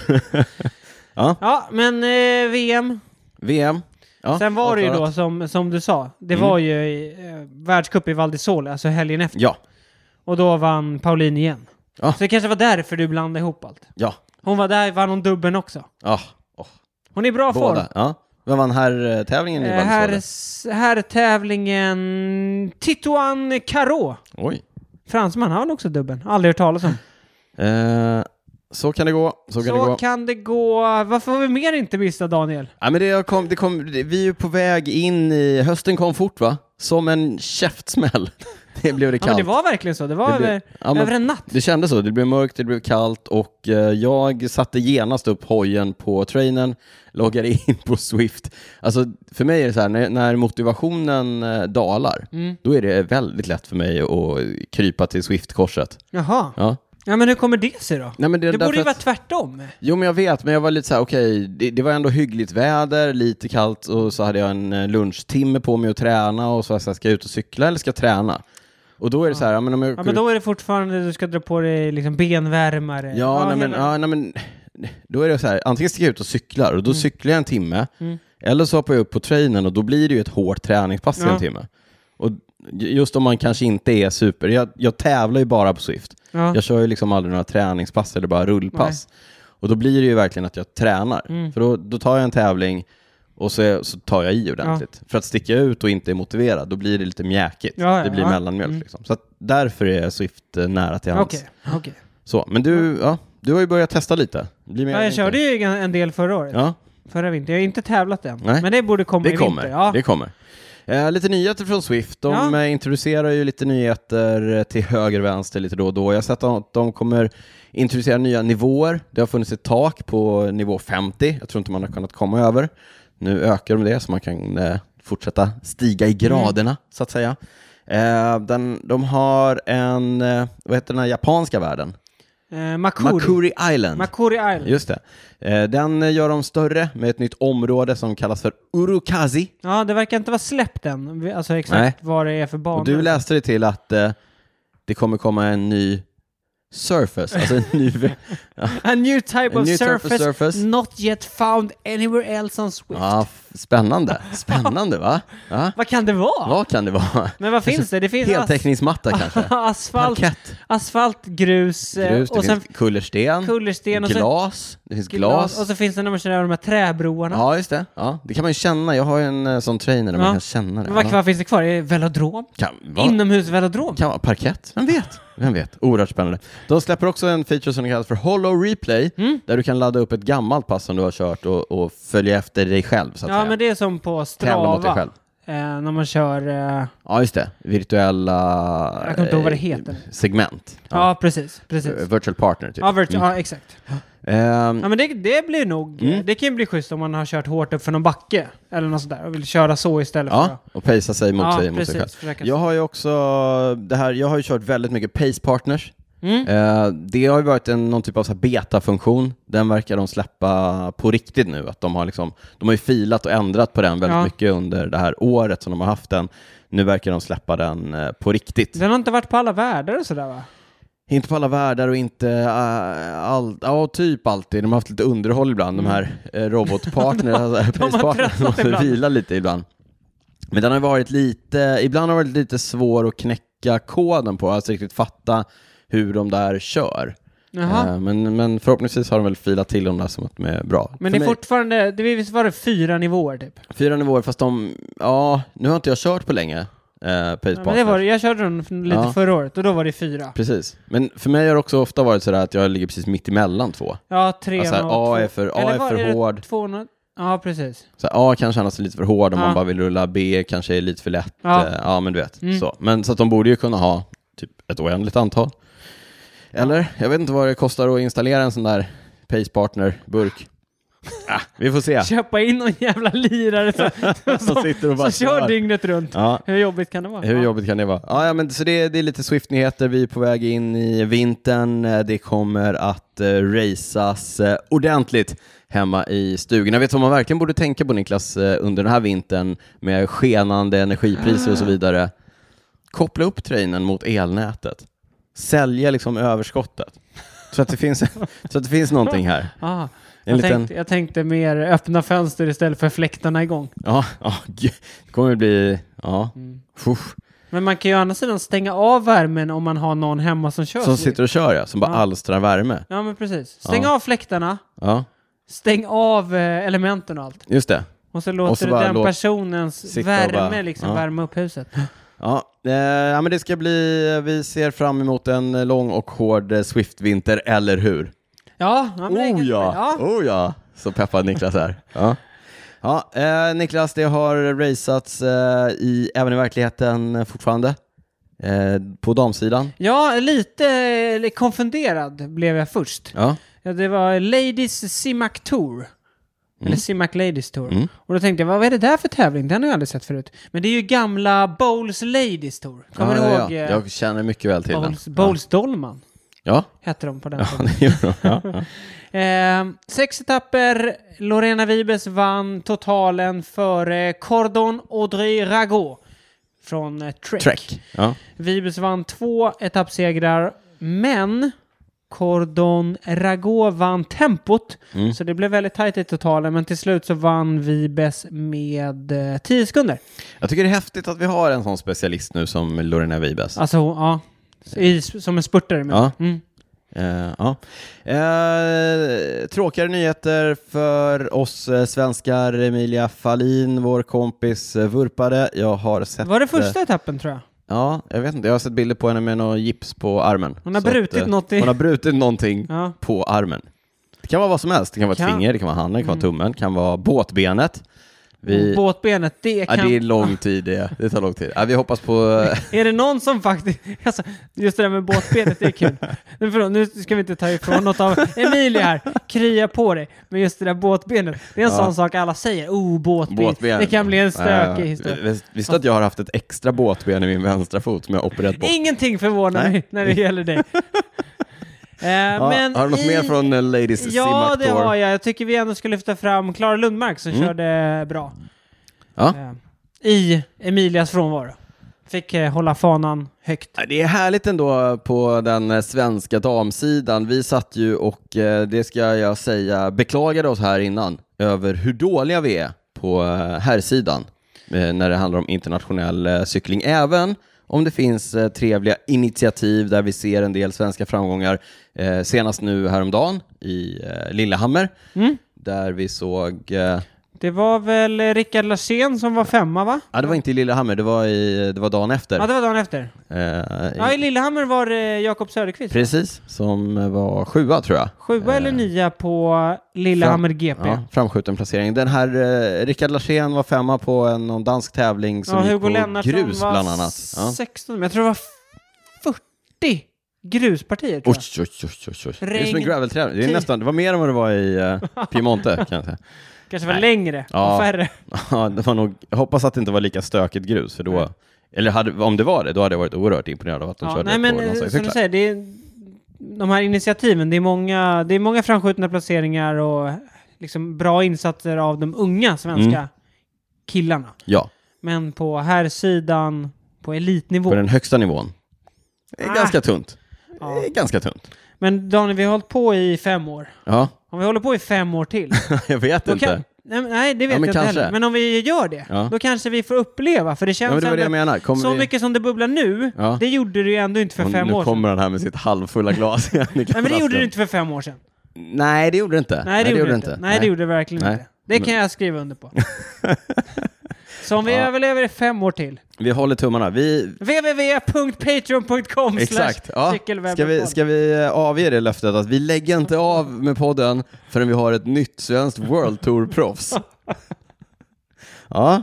Ja, men eh, VM. VM. Ja, Sen var det ju avklarat. då som, som du sa, det Mm. var ju i, eh, världscup i Val di Sole, alltså helgen efter. Ja, Och då vann Pauline igen. Ja. Så det kanske var därför du blandade ihop allt. ja, Hon var där, vann hon dubben också. ja. Åh, Hon är i bra form. båda. Ja. Vem vann här eh, tävlingen i Eh, Valsåde? här, s- här tävlingen Titoan Caro. Oj. Fransman, han har också dubben. Aldrig hört talas om. Eh, så kan det gå. Så kan det Så gå. kan det gå. Varför har vi mer inte missat Daniel? Ja, men det har kom, det kom, det, vi är ju på väg in i... Hösten kom fort, va? Som en käftsmäll. Det blev det Ja, men kallt. det var verkligen så. Det var Det blev- över, ja, men- över en natt. Det kändes så. Det blev mörkt, det blev kallt och eh, jag satte genast upp hojen på trainern, loggade in på Swift. Alltså, för mig är det så här, när, när motivationen eh, dalar, Mm. då är det väldigt lätt för mig att krypa till Swift-korset. Jaha. Ja. Ja, men hur kommer det sig då? Nej, men det är Det borde därför ju vara att- tvärtom. Jo, men jag vet, men jag var lite så här, okej, det, det var ändå hyggligt väder, lite kallt och så hade jag en eh, lunchtimme på mig att träna och så var jag så här, ska jag ut och cykla eller ska jag träna? Och då är det så här, ja, men om jag Ja, går men då är det fortfarande du ska dra på dig liksom benvärmare. Ja, nej, men, hela- Mm. ja nej, men då är det så här, antingen sticker jag ut och cyklar och då cyklar jag en timme Eller så hoppar jag upp på trainen och då blir det ju ett hårt träningspass i Ja. en timme. Och ju- just om man kanske inte är super, jag, jag tävlar ju bara på Swift. Ja. Jag kör ju liksom aldrig några träningspass eller bara rullpass. Och då blir det ju verkligen att jag tränar. Mm. För då, då tar jag en tävling och så, är- så tar jag i ordentligt. För att sticka ut och inte är motiverad, då blir det lite mjäkigt. Ja, ja, det blir ja. mellanmjölk. Mm. Liksom. Så att därför är Swift eh, nära till hands. Okej, okej. Så, men du, ja, du har ju börjat testa lite. Det Blir mer Ja, jag vinter. körde ju en del förra året. Ja, Förra vintern. Jag har inte tävlat än. Nej. Men det borde komma det i kommer. vinter. Ja. Det kommer. Eh, lite nyheter från Swift. De Ja. eh, introducerar ju lite nyheter eh, till höger och vänster lite då och då. Jag har sett att de kommer introducera nya nivåer. Det har funnits ett tak på nivå 50. Jag tror inte man har kunnat komma över. Nu ökar de det så man kan eh, fortsätta stiga i Mm. graderna, så att säga. Eh, den, de har en, eh, vad heter den här japanska världen? Eh, Makuri. Makuri. Makuri Island. Island. Just det. Eh, Den eh, gör de större med ett nytt område som kallas för Urukazi. Ja, det verkar inte vara släppt än. Vi- Alltså exakt Nej. vad det är för banor. Och du läste dig till att eh, det kommer komma en ny Surface, alltså en ny... A new type A of new type of surface, surface. not yet found anywhere else on Swift. Ja, f- spännande. Spännande va? Ja. Vad kan det vara? Vad kan det vara? Men vad finns det? Det finns as- Heltäckningsmatta kanske? asfalt, Parkett? asfalt, grus, eh, Grus, det och sen finns kullersten, kullersten och sen glas, det finns glas. Och så finns det när man kör över de här träbroarna. Ja, just det. Ja, det kan man ju känna. Jag har ju en eh, sån trainer där man Ja. kan känna det. Men vad, Ja. vad finns det kvar? Är det velodrom? Kan vara. Inomhusvelodrom? kan vara parkett. Vem vet? Vem vet? Oerhört spännande. De släpper också en feature som kallas för Hollow Replay, Mm. där du kan ladda upp ett gammalt pass som du har kört och, och följa efter dig själv, så att Ja, säga. men det är som på Tävla mot dig Strava. själv. Eh, när man kör... Eh, Ja, just det. Virtuella Jag kommer inte ihåg vad det eh, heter. segment. ja. precis. precis. Virtual partner, typ. Ja, vert- ja, exakt. Ehm, Ja, men det, det blir nog... Mm. eh, Det kan ju bli schysst om man har kört hårt upp för någon backe. Eller något sånt där och vill köra så istället för Ja, att... och pacea sig mot, Ja, sig, mot sig precis. själv. Försöka- Jag har ju också det här, jag har ju kört väldigt mycket pace partners. Mm. Eh, det har ju varit en, någon typ av så här beta-funktion. Den verkar de släppa på riktigt nu. Att de, har liksom, de har ju filat och ändrat på den väldigt Ja. mycket under det här året som de har haft den. Nu verkar de släppa den eh, på riktigt. Den har inte varit på alla världar och sådär va? Inte på alla världar och inte eh, all, ja, typ alltid. De har haft lite underhåll ibland, Mm. de här eh, robotpartnerna, alltså, tröttnat pacepartnerna, måste ibland. vila lite ibland. Men den har varit lite, ibland har det varit lite svår att knäcka koden på, alltså riktigt fatta hur de där kör. Jaha. Eh, Men, men förhoppningsvis har de väl filat till de där som att de är bra. Men För det är mig- fortfarande... Det, visst var det fyra nivåer typ? Fyra nivåer, fast de, ja, nu har inte jag kört på länge, eh, pacepartners. Ja, men det var, jag körde den f- lite Ja. förra året och då var det fyra. Precis. Men för mig har det också ofta varit sådär att jag ligger precis mitt emellan två. Ja, tre Alltså, och A är två. för- A Eller är vad för det? hård. 200... Ja, precis. Så här, A kan kännas lite för hård om Ja. man bara vill rulla, B kanske är lite för lätt. Ja. Ja, ja men du vet. Mm. Så. Men, så att de borde ju kunna ha typ ett oändligt antal. Eller? Jag vet inte vad det kostar att installera en sån där Pace Partner-burk. Ah, vi får se. Köpa in någon jävla lirare som, Som som, sitter och bara som kör kör. dygnet runt. Ja, Hur jobbigt kan det vara? hur Ja. jobbigt kan det vara? Ja, ja, men så det, det är lite Swift-nyheter. Vi är på väg in i vintern. Eh, Det kommer att eh, raceas eh, ordentligt hemma i stugorna. Vet du vad man verkligen borde tänka på Niklas eh, under den här vintern med skenande energipriser Ah. och så vidare? Koppla upp trainen mot elnätet. Sälja liksom överskottet. Så att det finns, så att det finns någonting här. Ah, En jag, liten- tänkte, jag tänkte mer öppna fönster istället för fläktarna igång. Ja, ja gud. det kommer bli... Ja. Mm. Fuh. Men man kan ju å andra sidan stänga av värmen om man har någon hemma som kör. Som så- sitter och kör, ja. Som bara Ja. alstrar värme. Ja, men precis. Stäng Ja. av fläktarna, Ja, stäng av eh, elementen och allt. just det. Och så låter så du bara den låt- personens sitta och värme bara- liksom ja. värma upp huset. Ja, eh, ja, men det ska bli, vi ser fram emot en eh, lång och hård eh, Swift-vinter, eller hur? Ja, ja men det är Oh inget- ja, ja. oh ja, så peppad Niklas är. Ja. Ja, eh, Niklas, det har raceats eh, i, även i verkligheten eh, fortfarande, eh, på damsidan. Ja, lite eh, konfunderad blev jag först. Ja. Ja, det var Ladies Simac Tour. Eller Simac Ladies Tour. Mm. Och då tänkte jag, vad vad är det där för tävling? Den har jag aldrig sett förut. Men det är ju gamla Bowls Ladies Tour. Kommer ja, du ja, ihåg? Ja. eh, Jag känner mycket väl till den. Bowls, Bowls Dolman Ja, hette de på den ja tiden. det gör de. Ja, ja. Eh, sex etapper. Lorena Vibes vann totalen före Cordon Audrey Rago från eh, Trek. Trek. Ja. Vibes vann två etappsegrar, men Cordon Rago vann tempot. Mm. Så det blev väldigt tajt i totalen, men till slut så vann Vibes med eh, 10 sekunder. Jag tycker det är häftigt att vi har en sån specialist nu som Lorena Vibes. Alltså, ja. I, som en spurtare. Men. Ja. Mm. Eh, ja. Eh, tråkigare nyheter för oss eh, svenskar. Emilia Fallin, vår kompis, eh, vurpade. Jag har sett... Var det eh, första etappen tror jag? Ja, jag vet inte. Jag har sett bilder på henne med någon gips på armen. Hon har Så brutit eh, något i- Hon har brutit någonting Ja. på armen. Det kan vara vad som helst. Det kan vara ett Kan. Mm. finger, det kan vara handen, det kan vara tummen, det kan vara båtbenet. Vi... Båtbenet, det Ja, kan... det är lång tid det. Det tar lång tid. Ja, vi hoppas på... eh, Är det någon som faktiskt... Alltså, just det där med båtbenet, det är kul. Nu, förlåt, nu ska vi inte ta ifrån något av Emilia här. Krya på dig. Men just det där båtbenet, det är en Ja. sån sak alla säger. Oh, båtben. Båtben. Det kan bli en stökig Ja, historia. vis- eh, Visste du att jag har haft ett extra båtben i min vänstra fot som jag har opererat bort? Ingenting förvånar Nej. mig när det gäller dig. Eh, Ja, men har du något i- mer från eh, Ladies Ja, Simac det Tour? Mm. har jag. Jag tycker vi ändå ska lyfta fram Klara Lundmark som körde eh, bra. Ja. Eh, I Emilias frånvaro. Fick eh, hålla fanan högt. Ja, Det är härligt ändå på den eh, svenska damsidan. Vi satt ju och, eh, det ska jag säga, beklagade oss här innan över hur dåliga vi är på eh, herrsidan eh, när det handlar om internationell eh, cykling. Även om det finns eh, trevliga initiativ där vi ser en del svenska framgångar. Eh, Senast nu häromdagen i eh, Lillehammer Mm. där vi såg eh, Det var väl eh, Rickard Larsén som var femma, va? Ja, det var inte i Lillehammer, det var, i, det var dagen efter. Ja, det var dagen efter. Eh, i- Ja, i Lillehammer var det Jakob Söderqvist. Precis, som var sjua tror jag. Sjua eller nia på Lillehammer GP. Ja, framskjuten placering. Den här eh, Rickard Larsén var femma på en någon dansk tävling som Ja, gick Hugo på Lennartsson grus var bland annat. Ja. 16, men jag tror det var 40 gruspartier tror Oj, jag. oj, oj, oj, oj. Det är Regn. som en graveltävling. Det, är Tid. nästan, det var mer än vad det var i eh, Piemonte kan jag säga. Kanske var längre Ja. och färre. Ja, det var nog, jag hoppas att det inte var lika stökigt grus, för då, eller hade, om det var det, då hade jag varit oerhört imponerad av att de Mm. Ja, körde nej, men på eh, som du landsvägscyklar. säger, det är, de här initiativen, det är många, det är många framskjutna placeringar och liksom bra insatser av de unga svenska Mm. killarna. Ja, Men på här sidan på elitnivå. på den högsta nivån. Det är Ah. ganska tunt. Ja. Det är ganska tunt. Men Daniel, vi har hållit på i fem år. Ja, Om vi håller på i fem år till. jag vet då inte. kan, nej, men- nej, det vet Ja, men jag inte kanske. heller. Men om vi gör det, Ja. då kanske vi får uppleva. För det Ja, känns men det var det jag ändå menar. Kommer så vi... mycket som det bubblar nu, Ja. det gjorde du ju ändå inte för Och fem nu år sedan. kommer han här med sitt halvfulla glas igen. i Nej, men det gjorde kafferasten. du inte för fem år sedan. Nej, det gjorde det inte. Nej, det, gjorde, det inte. Nej, det gjorde det verkligen Nej. inte. Det kan jag skriva under på. Så om vi Ja. överlever i fem år till. Vi håller tummarna. Vi... www.patreon.com Exakt. Ja. Ska, vi, ska vi eh, avge det löftet att vi lägger inte av med podden förrän vi har ett nytt svenskt World Tour-proffs? Ja,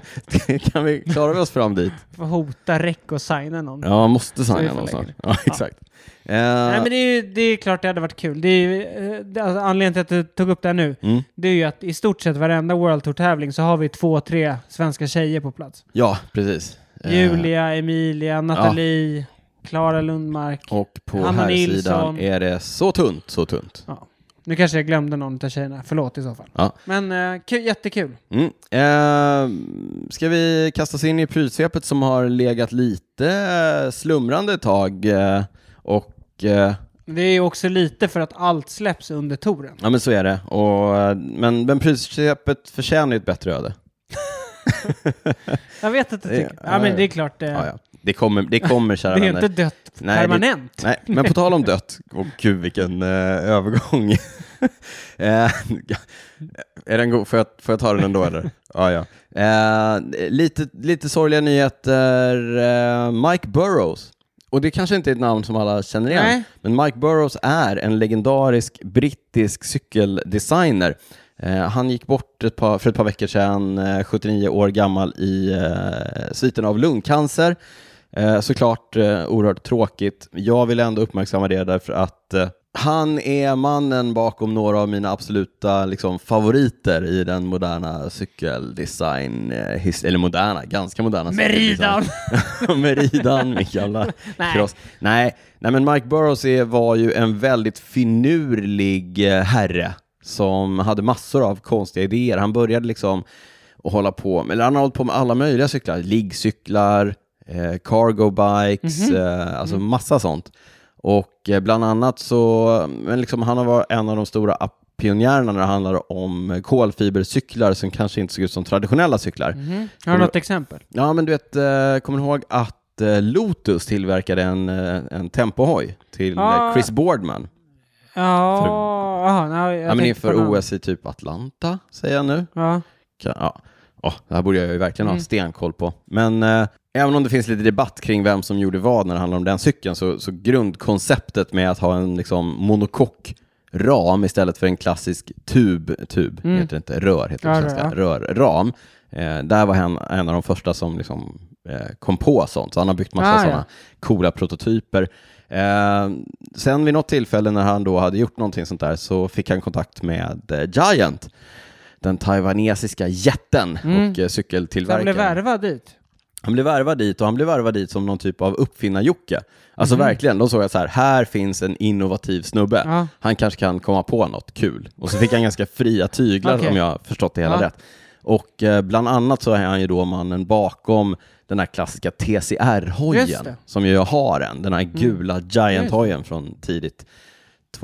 kan vi, klarar vi oss fram dit? Får hota räck och signa någon. Ja, man måste vi signa får någon lägga snart. det. Ja, exakt. Eh, Nej, men det är, ju, det är klart det hade varit kul. Det är ju, eh, det, alltså, anledningen till att du tog upp det här nu, Mm. det är ju att i stort sett varenda World Tour-tävling så har vi två, tre svenska tjejer på plats. Ja, precis. Eh, Julia, Emilia, Nathalie, Klara Lundmark. Och på Hanna här sidan Nilsson. är det så tunt, så tunt. Ja. Nu kanske jag glömde någon av tjejerna, förlåt i så fall. Ja. Men eh, kul, jättekul. Mm. Eh, ska vi kasta oss in i prylsvepet som har legat lite eh, slumrande ett tag? Eh, och, eh, Det är ju också lite för att allt släpps under touren. ja men så är det. Och, eh, men, men prylsvepet förtjänar ju ett bättre öde. Jag vet att du Det- tycker. Ja, ja, men ja. det är klart. eh, Ja, ja. Det kommer, det kommer kära Det är ju vänner. inte dött Nej, det- permanent. Nej, men på tal om dött, och gud vilken eh, övergång. eh, är den god? Får jag, får jag ta den ändå eller? ja, ja. Eh, lite, lite sorgliga nyheter. Eh, Mike Burrows, och det kanske inte är ett namn som alla känner igen, Nej. men Mike Burrows är en legendarisk brittisk cykeldesigner. Eh, han gick bort ett par, för ett par veckor sedan, eh, 79 år gammal, i eh, sviten av lungcancer. Eh, såklart eh, oerhört tråkigt. Jag vill ändå uppmärksamma det därför att eh, han är mannen bakom några av mina absoluta liksom, favoriter i den moderna cykeldesign, eh, his- eller moderna, ganska moderna cykeldesign. Meridan! Meridan, min jävla Nej. kross. Nej. Nej, men Mike Burrows är, var ju en väldigt finurlig eh, herre som hade massor av konstiga idéer. Han började liksom att hålla på med, eller han har hållit på med alla möjliga Mhm. Mm. cyklar, liggcyklar, eh, cargo bikes, eh, alltså massa sånt. Och eh, bland annat så, men liksom, han har varit en av de stora app- pionjärerna när det handlar om kolfibercyklar som kanske inte såg ut som traditionella cyklar. Mm. Har du något exempel? Ja, men du vet, eh, kommer du ihåg att eh, Lotus tillverkade en, eh, en tempohoj till eh, Ah. Chris Boardman? Ja, aha, nej, jag Ja, men tänkte på inför någon. OS i typ Atlanta, säger jag nu. Ja. Kan, ja. Åh, det här borde jag ju verkligen Mm. ha stenkoll på. Men eh, även om det finns lite debatt kring vem som gjorde vad när det handlar om den cykeln, så, så grundkonceptet med att ha en liksom, monokock ram istället för en klassisk tub, tub heter det inte, rör heter det Mm. Ja, på rör, svenska, rörram. Eh, där var han en av de första som liksom, eh, kom på sånt, så han har byggt massa Ah, ja. sådana coola prototyper. Eh, sen vid något tillfälle när han då hade gjort någonting sånt där så fick han kontakt med eh, Giant, den taiwanesiska jätten och eh, Så han blev cykeltillverkaren. värvad dit. han blev värvad dit och han blev värvad dit som någon typ av uppfinnar-Jocke. Alltså Mhm. verkligen, de såg att så här, här finns en innovativ snubbe. Ja. Han kanske kan komma på något kul. Och så fick han ganska fria tyglar Okej. om jag har förstått det hela Ja. rätt. Och eh, bland annat så är han ju då mannen bakom den här klassiska Just TCR-hojen det. Mm. som ju har en, den här gula Giant-hojen från tidigt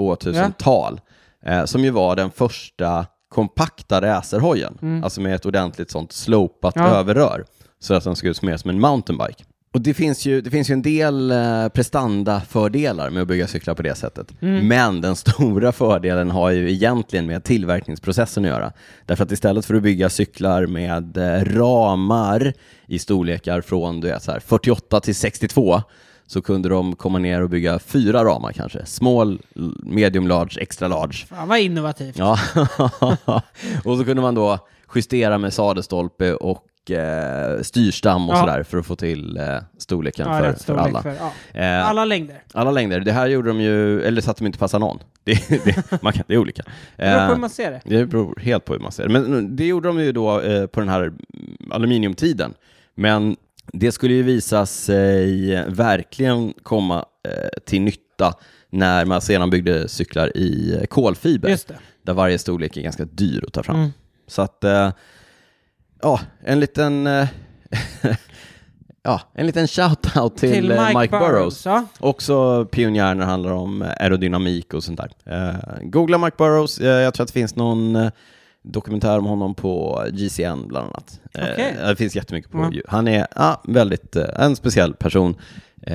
2000-tal, eh, som ju var den första kompakta racerhojen, Mm. alltså med ett ordentligt sånt slopat Ja. överrör, så att den såg ut mer som en mountainbike. Och det finns ju, det finns ju en del eh, prestandafördelar med att bygga cyklar på det sättet, men den stora fördelen har ju egentligen med tillverkningsprocessen att göra. Därför att istället för att bygga cyklar med eh, ramar i storlekar från du vet, så här, 48 till 62, så kunde de komma ner och bygga fyra ramar kanske. Small, l- medium large, extra large. Fan vad innovativt. Ja. och så kunde man då justera med sadelstolpe och eh, styrstam och Ja. sådär för att få till eh, storleken Ja, för, rätt för storlek alla. för- ja. Eh, Alla längder. alla längder. Det här gjorde de ju, eller så att de inte passar någon. Det, det, man kan, det är olika. Det beror på Eh, hur man ser det. det beror helt på hur man ser det. Men mm, det gjorde de ju då eh, på den här mm, aluminiumtiden. Men det skulle ju visa sig verkligen komma eh, till nytta när man sedan byggde cyklar i eh, kolfiber, Just det. Mm. där varje storlek är ganska dyr att ta fram. Så att, eh, ja, en liten, eh, ja, en liten shout-out till, eh, Mike, Burrows. Ja. Också pionjär när det handlar om eh, aerodynamik och sånt där. Eh, googla Mark Burrows. Eh, jag tror att det finns någon eh, dokumentär om honom på GCN bland annat. Eh, Okej. Det finns jättemycket på Ja. ju- Han är ja, väldigt, eh, en speciell person. Eh,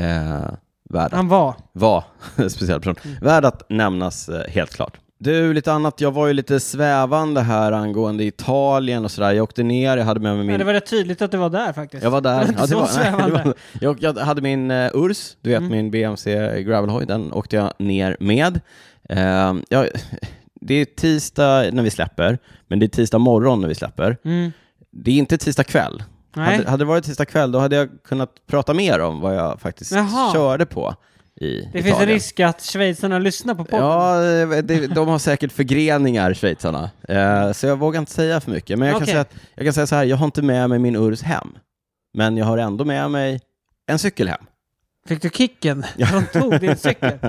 värd att, Han var. var en speciell person. Mm. Värd att nämnas eh, helt klart. Du, lite annat. Jag var ju lite svävande här angående Italien och sådär. Jag åkte ner, jag hade med mig min Men det var rätt tydligt att det var där faktiskt. jag var där. Det var inte Ja, det så var- nej, det svävande. Mm. var- jag, jag hade min eh, Urs, du vet min BMC Gravelhoj, den åkte jag ner med. Ehm, jag, det är tisdag när vi släpper, men det är tisdag morgon när vi släpper. Mm. Det är inte tisdag kväll. Nej. Hade, hade det varit tisdag kväll, då hade jag kunnat prata mer om vad jag faktiskt Jaha. körde på i Det Italien. finns en risk att schweizarna lyssnar på podden. Ja, eh, det, de har säkert förgreningar, schweizarna. Eh, så jag vågar inte säga för mycket. Men jag, kan Okej. säga att, jag kan säga så här, jag har inte med mig min Urs hem. Men jag har ändå med mig en cykel hem. Fick du kicken? De tog din cykel.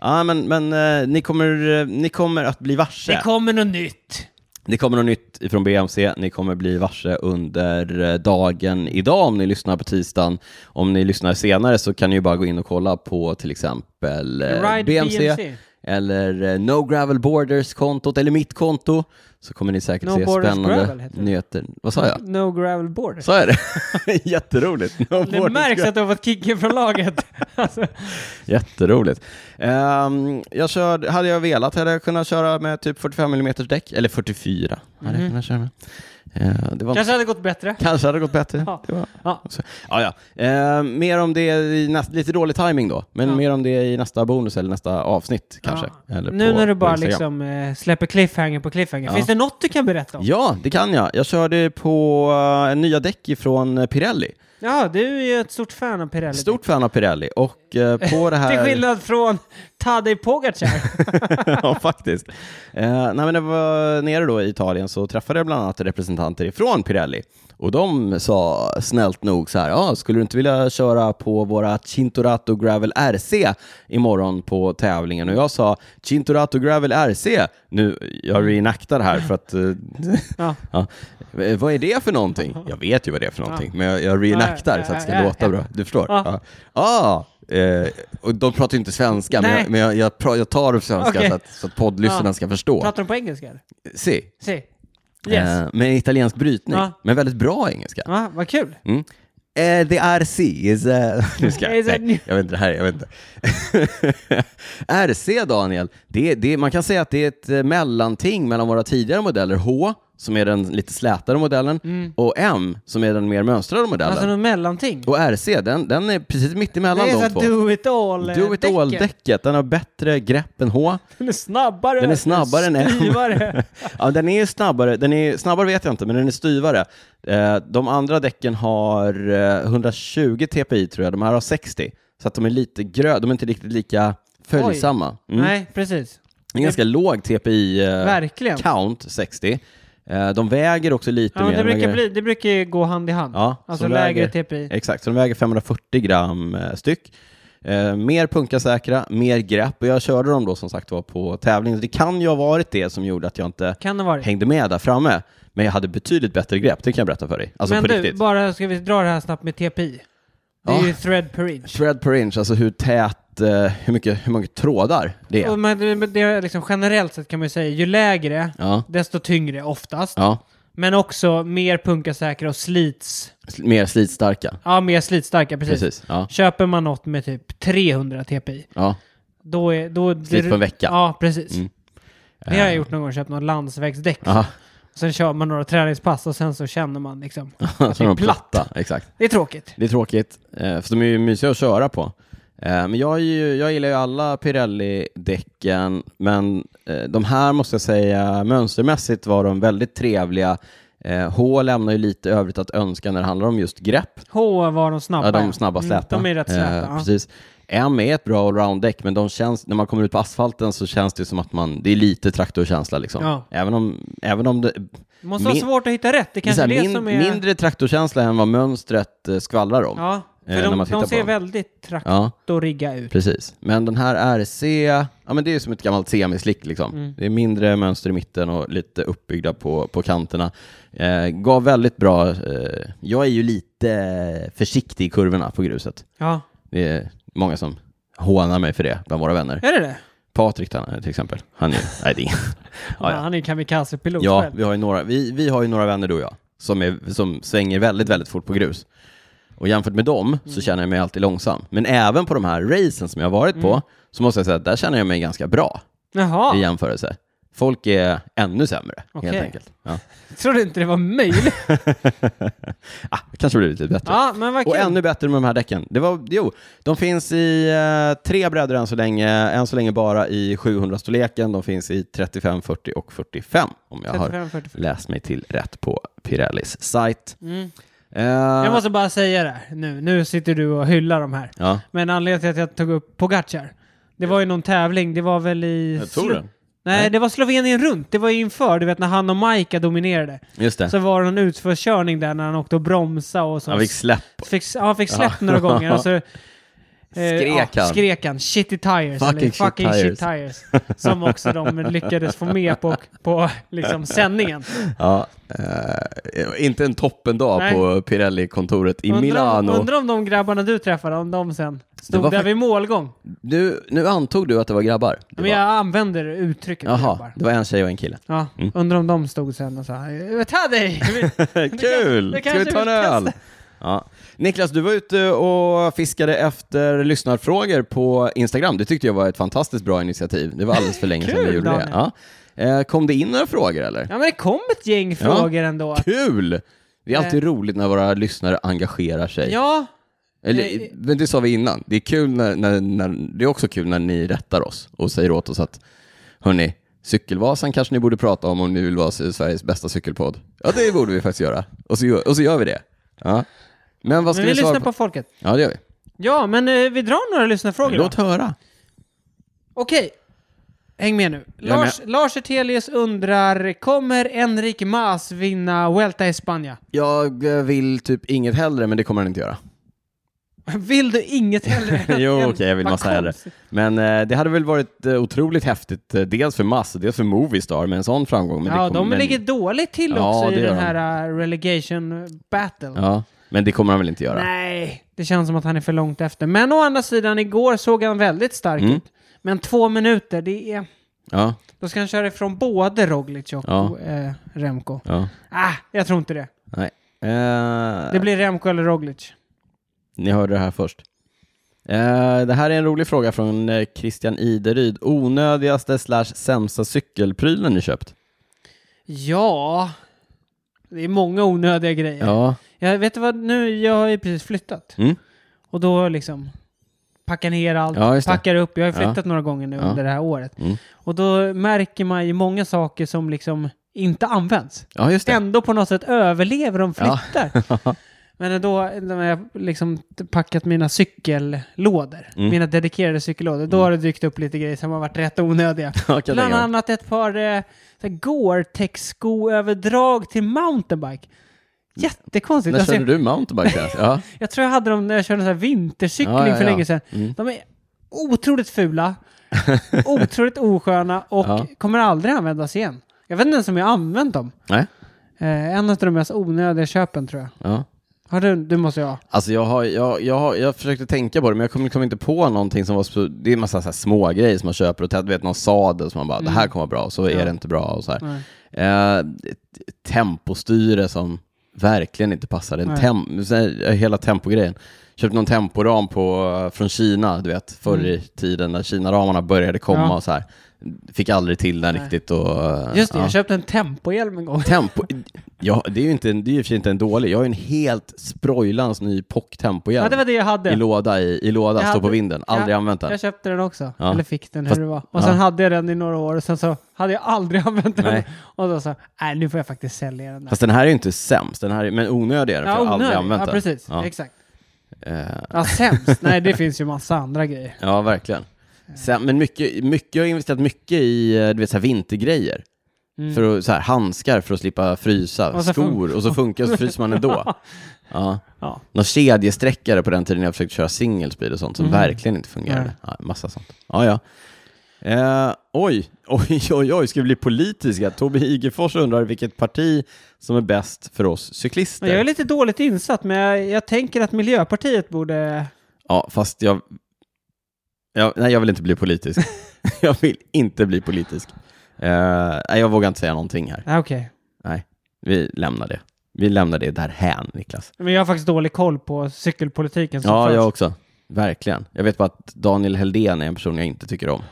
Ja, men, men eh, ni, kommer, eh, ni kommer att bli varse. Det kommer något nytt. Det kommer något nytt ifrån BMC. Ni kommer bli varse under eh, dagen idag om ni lyssnar på tisdagen. Om ni lyssnar senare så kan ni ju bara gå in och kolla på till exempel eh, Ride BMC. eller eh, No Gravel Borders-kontot eller mitt konto så kommer ni säkert No se Borders spännande Gravel heter det. nyheter. Vad sa jag? No gravel board. Sa jag det? Jätteroligt. No Det Borders märks Gravel. att du har fått kicken från laget. alltså, Jätteroligt. Ehm, jag körde, hade jag velat hade jag kunnat köra med typ 45 mm däck, eller 44 hade jag kunnat köra med. Eh, det var Mhm. kanske hade gått bättre. Kanske hade gått bättre. Ja. Det var... Ja. Så, ja, ja. Eh, mer om det i nästa, lite dålig timing då, men Ja. mer om det i nästa bonus eller nästa avsnitt kanske. Ja. Eller nu på- när du på bara Instagram. liksom eh, släpper cliffhanger på cliffhanger. Ja. Finns det något du kan berätta om? Ja, det kan jag. Jag körde på eh, nya däck ifrån eh, Pirelli. Ja, du är ju ett stort fan av Pirelli. Stort fan av Pirelli och eh, på det här... Till skillnad från Tadej Pogacar. ja, faktiskt. Eh, nej, men när jag var nere då i Italien så träffade jag bland annat representanter ifrån Pirelli och de sa snällt nog så här, ja, skulle du inte vilja köra på våra Cintorato Gravel RC imorgon på tävlingen? Och jag sa Cintorato Gravel RC, nu, jag reenaktar här för att eh, ja. Ja. Eh, Vad är det för någonting? Jag vet ju vad det är för någonting, men jag, jag reenaktar Ja, ja, så att det ska ja, ja, låta ja. bra. Du förstår? Ja. Ja. Ah, Eh, och de pratar ju inte svenska, men, Nej. jag, men jag, jag, pra- jag tar det på svenska Okej. så, att, så att poddlyssnarna Ja. ska förstå. Pratar de på engelska? eller? Si. Si. Yes. Eh, med italiensk brytning, Ja. men väldigt bra engelska. Ja, vad kul. Mm. Eh, the RC is... eh, nu ska jag, Is a new- nej, jag vet inte, det här, jag vet inte. RC, Daniel, det, det, man kan säga att det är ett eh, mellanting mellan våra tidigare modeller, H, som är den lite slätare modellen, och M, som är den mer mönstrade modellen. Mm. Alltså något mellanting. Och RC, den, den är precis Det mittemellan de är såhär två. do it all eh, Do it däcken. all-däcket, den har bättre grepp än H. Den är snabbare. Den är snabbare än Mm. M. Styvare. Ja, den är snabbare, den är, snabbare vet jag inte, men den är styvare. Eh, de andra däcken har eh, 120 TPI tror jag, de här har 60. Så att de är lite grö, de är inte riktigt lika följsamma. Mm. Nej, precis. Det är ganska låg TPI eh, Verkligen. count, 60 eh, De väger också lite Ja, mer. men det, än brukar väger- bli, det brukar ju gå hand i hand. Ja, alltså som lägre väger- TPI. Exakt, så de väger 540 gram eh, styck. Eh, mer punkasäkra, mer grepp och jag körde dem då som sagt var på tävling. Så Det kan ju ha varit det som gjorde att jag inte Kan det vara. hängde med där framme. Men jag hade betydligt bättre grepp, det kan jag berätta för dig. Alltså Men på du, riktigt. bara ska vi dra det här snabbt med TPI. Det är Ja. ju thread per inch. Thread per inch, alltså hur tät, eh, hur, mycket, hur många trådar det är. Och men, det- men det är liksom, generellt sett kan man ju säga, ju lägre, Ja, desto tyngre oftast. ja. Men också mer punkasäkra och slits. Sl- Mer slitstarka. Ja, mer slitstarka, precis. Precis. Ja. Köper man något med typ 300 TPI, Ja. då är... Då, Slit på en vecka. Ja, precis. Mm. Det har jag gjort någon gång, köpt något landsvägsdäck. Aha. Sen kör man några träningspass och sen så känner man liksom... Så de är platt. platta. Exakt. Det är tråkigt. Det är tråkigt, eh, för de är ju mysiga att köra på. Eh, Men jag, är ju, jag gillar ju alla Pirelli-däcken, men eh, de här måste jag säga, mönstermässigt var de väldigt trevliga. Eh, H lämnar ju lite övrigt att önska när det handlar om just grepp. H var de snabba. Ja, de snabba Mm, släta. de är rätt släta. Eh, ja. Precis. M är ett bra allround-däck, men de känns, när man kommer ut på asfalten så känns det som att man, det är lite traktorkänsla liksom. Ja. Även om, även om det, Måste vara Min- svårt att hitta rätt. Det det är så kanske är här, det min, som är... mindre traktorkänsla än vad mönstret eh, skvallrar om. Ja, för eh, när de, man tittar de på ser dem. väldigt Ja. traktoriga ut. Precis, men den här RC, ja men det är som ett gammalt semislick liksom. Mm. Det är mindre mönster i mitten och lite uppbyggda på, på kanterna. Eh, gav väldigt bra, eh, jag är ju lite försiktig i kurvorna på gruset. Ja, Det är många som hånar mig för det bland våra vänner. är det det? Patrik till exempel, han är nej det är ingen. Ja, Ja, ja. Han är ju kamikazepilot Ja, själv. vi har ju några, vi, vi har ju några vänner du och jag, som, är, som svänger väldigt, väldigt fort på grus. Och jämfört med dem så Mm. känner jag mig alltid långsam. Men även på de här racen som jag har varit Mm. på, så måste jag säga att där känner jag mig ganska bra i Jaha, jämförelse. Folk är ännu sämre, Okej. helt enkelt. Ja. jag trodde inte det var möjligt. Ah, det kanske blir lite bättre. ja, men vad Och kul. ännu bättre med de här däcken. Det var, jo, de finns i eh, tre bredder än så länge, än så länge bara i 700-storleken. De finns i 35, 40 och 45, om jag har 35, 45. läst mig till rätt på Pirellis sajt. Mm. Eh, Jag måste bara säga det här nu. Nu sitter du och hyllar de här. Ja. Men anledningen till att jag tog upp Pogacar, det var ju någon tävling, det var väl i... Slo- Nej, Nej. det var Slovenien runt. Det var ju inför, du vet när han och Maika dominerade. Just det. Så var det någon utförskörning där när han åkte och bromsade och så. Han fick släpp. Fick, ja, han fick släpp några gånger och så... eh, Skrek ja, han. Skrek han. Shitty tires. Fucking eller shit fucking shit tires. tires. Som också de lyckades få med på, på liksom sändningen. Ja, eh, inte en toppendag Nej. på Pirelli-kontoret i Undrar om, Milano. undrar om de grabbarna du träffade, om de sen Det stod var där fakt- vid målgång. Du, nu antog du att det var grabbar? Det Men var- jag använder uttrycket Jaha, Mm. grabbar. det var en tjej och en kille. Ja, undrar om de stod sen och sa Ta dig! Kul! det Ska kanske vi ta en vi öl? testar. Ja. Niklas, du var ute och fiskade efter lyssnarfrågor på Instagram. Det tyckte jag var ett fantastiskt bra initiativ. Det var alldeles för länge sedan vi Kul, gjorde det. Daniel. Ja. Eh, Kom det in några frågor eller? Ja men det kom ett gäng frågor ändå. Kul! Det är Eh. alltid roligt när våra lyssnare engagerar sig. Ja, Eller, Eh, men det sa vi innan. Det är, kul när, när, när, det är också kul när ni rättar oss och säger åt oss att hörni, Cykelvasan kanske ni borde prata om om ni vill vara Sveriges bästa cykelpodd. Ja, det borde vi faktiskt göra. Och så, gör- och så gör vi det. Ja. Men vad ska men vi vi svara lyssnar på? på folket. Ja, det gör vi. Ja, men eh, vi drar några lyssnarfrågor då. Låt höra. Okej, häng med nu. Jag är Lars, Lars Ertelius undrar, kommer Enric Mas vinna Vuelta i Spanien? Jag eh, vill typ inget hellre, men det kommer han inte göra. Vill du inget hellre? än att Jo, en- okej, jag vill Vad massa hellre. konstigt. Men eh, det hade väl varit eh, otroligt häftigt, eh, dels för Mass, dels för Movistar med en sån framgång. Men det Ja, kommer- de men- ligger dåligt till Ja, också i det gör den de. här eh, relegation battle. Ja. Men det kommer han väl inte göra? Nej, det känns som att han är för långt efter. Men å andra sidan, igår såg han väldigt stark Mm. ut. Men två minuter, det är... Ja, Då ska han köra ifrån både Roglic och Ja. eh, Remco. ja. Ah, jag tror inte det. Nej. Eh, Det blir Remco eller Roglic. Ni hörde det här först. Eh, det här är en rolig fråga från eh, Christian Ideryd. Onödigaste slash sämsta cykelprylen ni köpt? Ja, det är många onödiga grejer. Ja. Jag vet du vad, nu, jag har ju precis flyttat. Mm. Och då liksom packar ner allt, Ja, just det. packar upp. Jag har ju Ja. flyttat några gånger nu Ja. under det här året. Mm. Och då märker man ju många saker som liksom inte används. ja, just det. Ändå på något sätt överlever de flyttar. Men då när jag liksom packat mina cykellådor, Mm. mina dedikerade cykellådor, då har det dykt upp lite grejer som har varit rätt onödiga. Ja, kan jag Bland tänka mig. annat ett par eh, så här Gore-Tex skoöverdrag till mountainbike. Jättekonstigt. När Alltså, körde jag, du mountainbike senast? Ja. jag tror jag hade dem när jag körde så här vintercykling Ja, ja, för ja. länge sedan. Mm. De är otroligt fula, otroligt osköna och Ja. kommer aldrig användas igen. Jag vet inte ens om jag har använt dem. Nej. Eh, en av de mest onödiga köpen tror jag. Ja. Har du, du måste ju ha. Alltså jag, har, jag, jag, har, jag försökte tänka på det, men jag kom, kom inte på någonting som var... så- Det är en massa så här små grejer som man köper, och tä- du vet någon sadel som man bara, det här kommer vara bra, och så är Ja. det inte bra och så här. Nej. Eh, t- tempostyre som verkligen inte passade. En Nej. tem, så här, eh, hela tempogrejen. Köpte någon temporam på, eh, från Kina, du vet, förr i tiden när Kina-ramarna började komma Mm. Ja. och så här. Fick aldrig till den Nej. riktigt och... eh, Just det, ja. jag köpte en tempohjälm en gång. Tempo, ja, det är ju inte, en- det är ju i och för sig inte en dålig. Jag har ju en helt sprojlans ny pock tempo Ja, det var det jag hade. i låda, i, i låda, Jag står på hade- vinden. Aldrig Ja, använt den. Jag köpte den också, Ja. eller fick den Fast- hur det var. Och sen ja. hade jag den i några år och sen så hade jag aldrig använt den. Nej. Och då sa nej nu får jag faktiskt sälja den där. Fast den här är ju inte sämst, den här är, men onödig är den, för jag har aldrig onödig. använt ja den. precis. Ja. Exakt. Eh, Ja, sämst. nej, det finns ju massa andra grejer. Ja, verkligen. Sen, men mycket, mycket, jag har investerat mycket i eh, du vet, så här, vintergrejer. För att, så här, handskar för att slippa frysa, Mm. Och så skor, och så funkar så fryser man ändå. ja. Ja. Någon kedjesträckare på den tiden jag försökte köra singelspeed och sånt som verkligen inte fungerade. Mm. Nej. Ja, massa sånt. Ja, ja. Eh, oj, oj, oj, oj, ska vi bli politiska? Tobbe Igefors undrar vilket parti som är bäst för oss cyklister. Men jag är lite dåligt insatt, men jag, jag tänker att Miljöpartiet borde... Ja, fast jag... jag... Nej, jag vill inte bli politisk. jag vill inte bli politisk. Eh, nej, jag vågar inte säga någonting här. Ah, Okej. Nej, vi lämnar det. Vi lämnar det därhän, Niklas. Men jag har faktiskt dålig koll på cykelpolitiken som Ja, förs. jag också. Verkligen. Jag vet bara att Daniel Heldén är en person jag inte tycker om.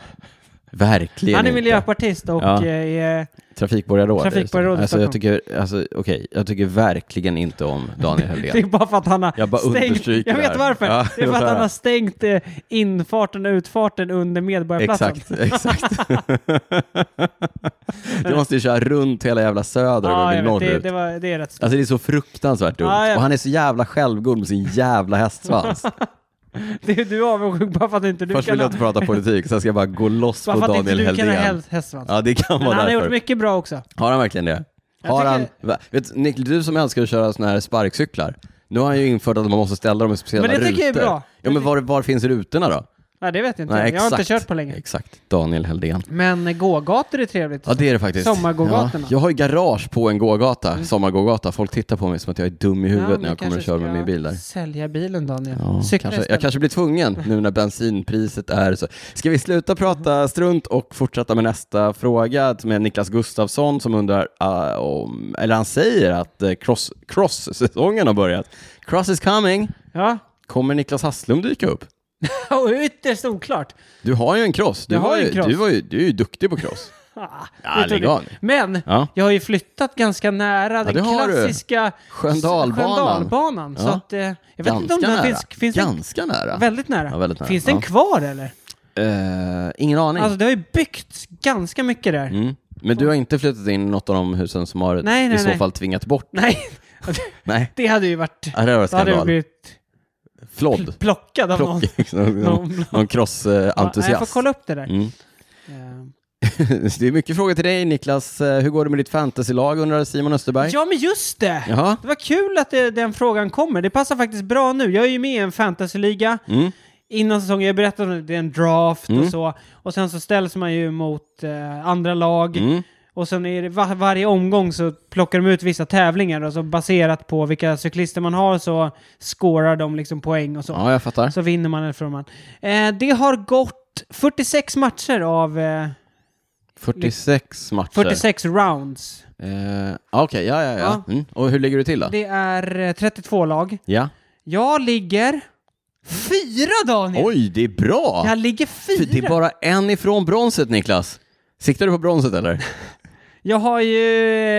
Verkligen Han är inte. miljöpartist och Ja. eh, är... Trafikborgarråd. är det så. Trafikborgarråd i Alltså, jag Stockholm. tycker, alltså, okej, jag tycker verkligen inte om Daniel Det är Heldén. bara för att han har Jag bara stängt... understryker Jag det här. vet varför. Ja, det är för jag att tar han det. har stängt eh, infarten och utfarten under Medborgarplatsen. Exakt, exakt. du måste ju köra runt hela jävla söder och gå Ja, jag vet, det, norrut. det, var, det är rätt stort. Alltså det är så fruktansvärt dumt. Ja, jag och han är så jävla självgod med sin jävla hästsvans. Det är du är avundsjuk bara för att inte du Alltså- Först kan vill jag ha... inte prata politik, sen ska jag bara gå loss Bara på för att inte Daniel du kan ha Heldén. häst, hästsvans. Ja, det kan Men han vara har därför. gjort mycket bra också. Har han verkligen det? Jag Har han... tycker- Va- Vet, Nick, du som älskar att köra såna här sparkcyklar, nu har han ju infört att man måste ställa dem i speciella Men det tycker jag är rutor. bra. Ja, men var, var finns rutorna då? Nej, det vet jag inte. Nej, jag har inte exakt. kört på länge. Exakt, Daniel Heldén. Men eh, gågator är trevligt. Ja det är det faktiskt. Sommargågatorna. Mm. Ja, jag har ju garage på en gågata, sommargågata. Folk tittar på mig som att jag är dum i Ja, huvudet men när jag kommer kanske och kör med ska min bil där. Sälja bilen Daniel. Ja, Cykla kanske, jag istället. kanske blir tvungen nu när bensinpriset är så. Ska vi sluta prata strunt och fortsätta med nästa fråga med Niklas Gustafsson som undrar ah, om, eller han säger att eh, cross- cross-säsongen har börjat. Cross is coming. Ja, Kommer Niklas Hasslum dyka upp? och ytterst oklart. Du har ju en cross. Du, Jag har var en ju, cross. Du, var ju, du är ju duktig på cross. Ah, Ja, det är lägg av nu. Men Ja. jag har ju flyttat ganska nära den det har du. klassiska Sköndalbanan. Sköndalbanan, så Ja. att, eh, jag vet inte Ganska om den nära. finns, finns den, Ganska nära. väldigt, nära. Ja, väldigt nära. Finns den Ja. kvar eller? Eh, ingen aning. Alltså det har ju byggts ganska mycket där. Mm. Men du har inte flyttat in i något av de husen som har Nej, nej, i så nej. fall tvingat bort? Nej, Nej. det hade ju varit... Ja, det var Då hade jag skandal. blivit Flodd. plockad av någon. Plock. någon någon- någon Ja, nej, Jag får crossentusiast. kolla upp det där. Mm. Eh, det är mycket frågor till dig Niklas. Eh, Hur går det med ditt fantasylag undrar Simon Österberg. Ja, men just det! Jaha. Det var kul att det, den frågan kommer. Det passar faktiskt bra nu. Jag är ju med i en fantasyliga Mm. innan säsongen. Jag berättade om det, det är en draft Mm. och så. Och sen så ställs man ju mot eh, andra lag. Mm. Och sen är det va- varje omgång så plockar de ut vissa tävlingar och så baserat på vilka cyklister man har så scorar de liksom poäng och så. Ja, jag fattar. Så vinner man eller förlorar man. Eh, det har gått 46 matcher av eh, 46 matcher. 46 rounds. Eh, Okej, ja, ja, ja. Mm. Och hur ligger du till då? Det är eh, 32 lag. Ja. Jag ligger fyra, Daniel! Oj, det är bra! Jag ligger Fy, fyra! Det är bara en ifrån bronset, Niklas. Siktar du på bronset eller? Jag har ju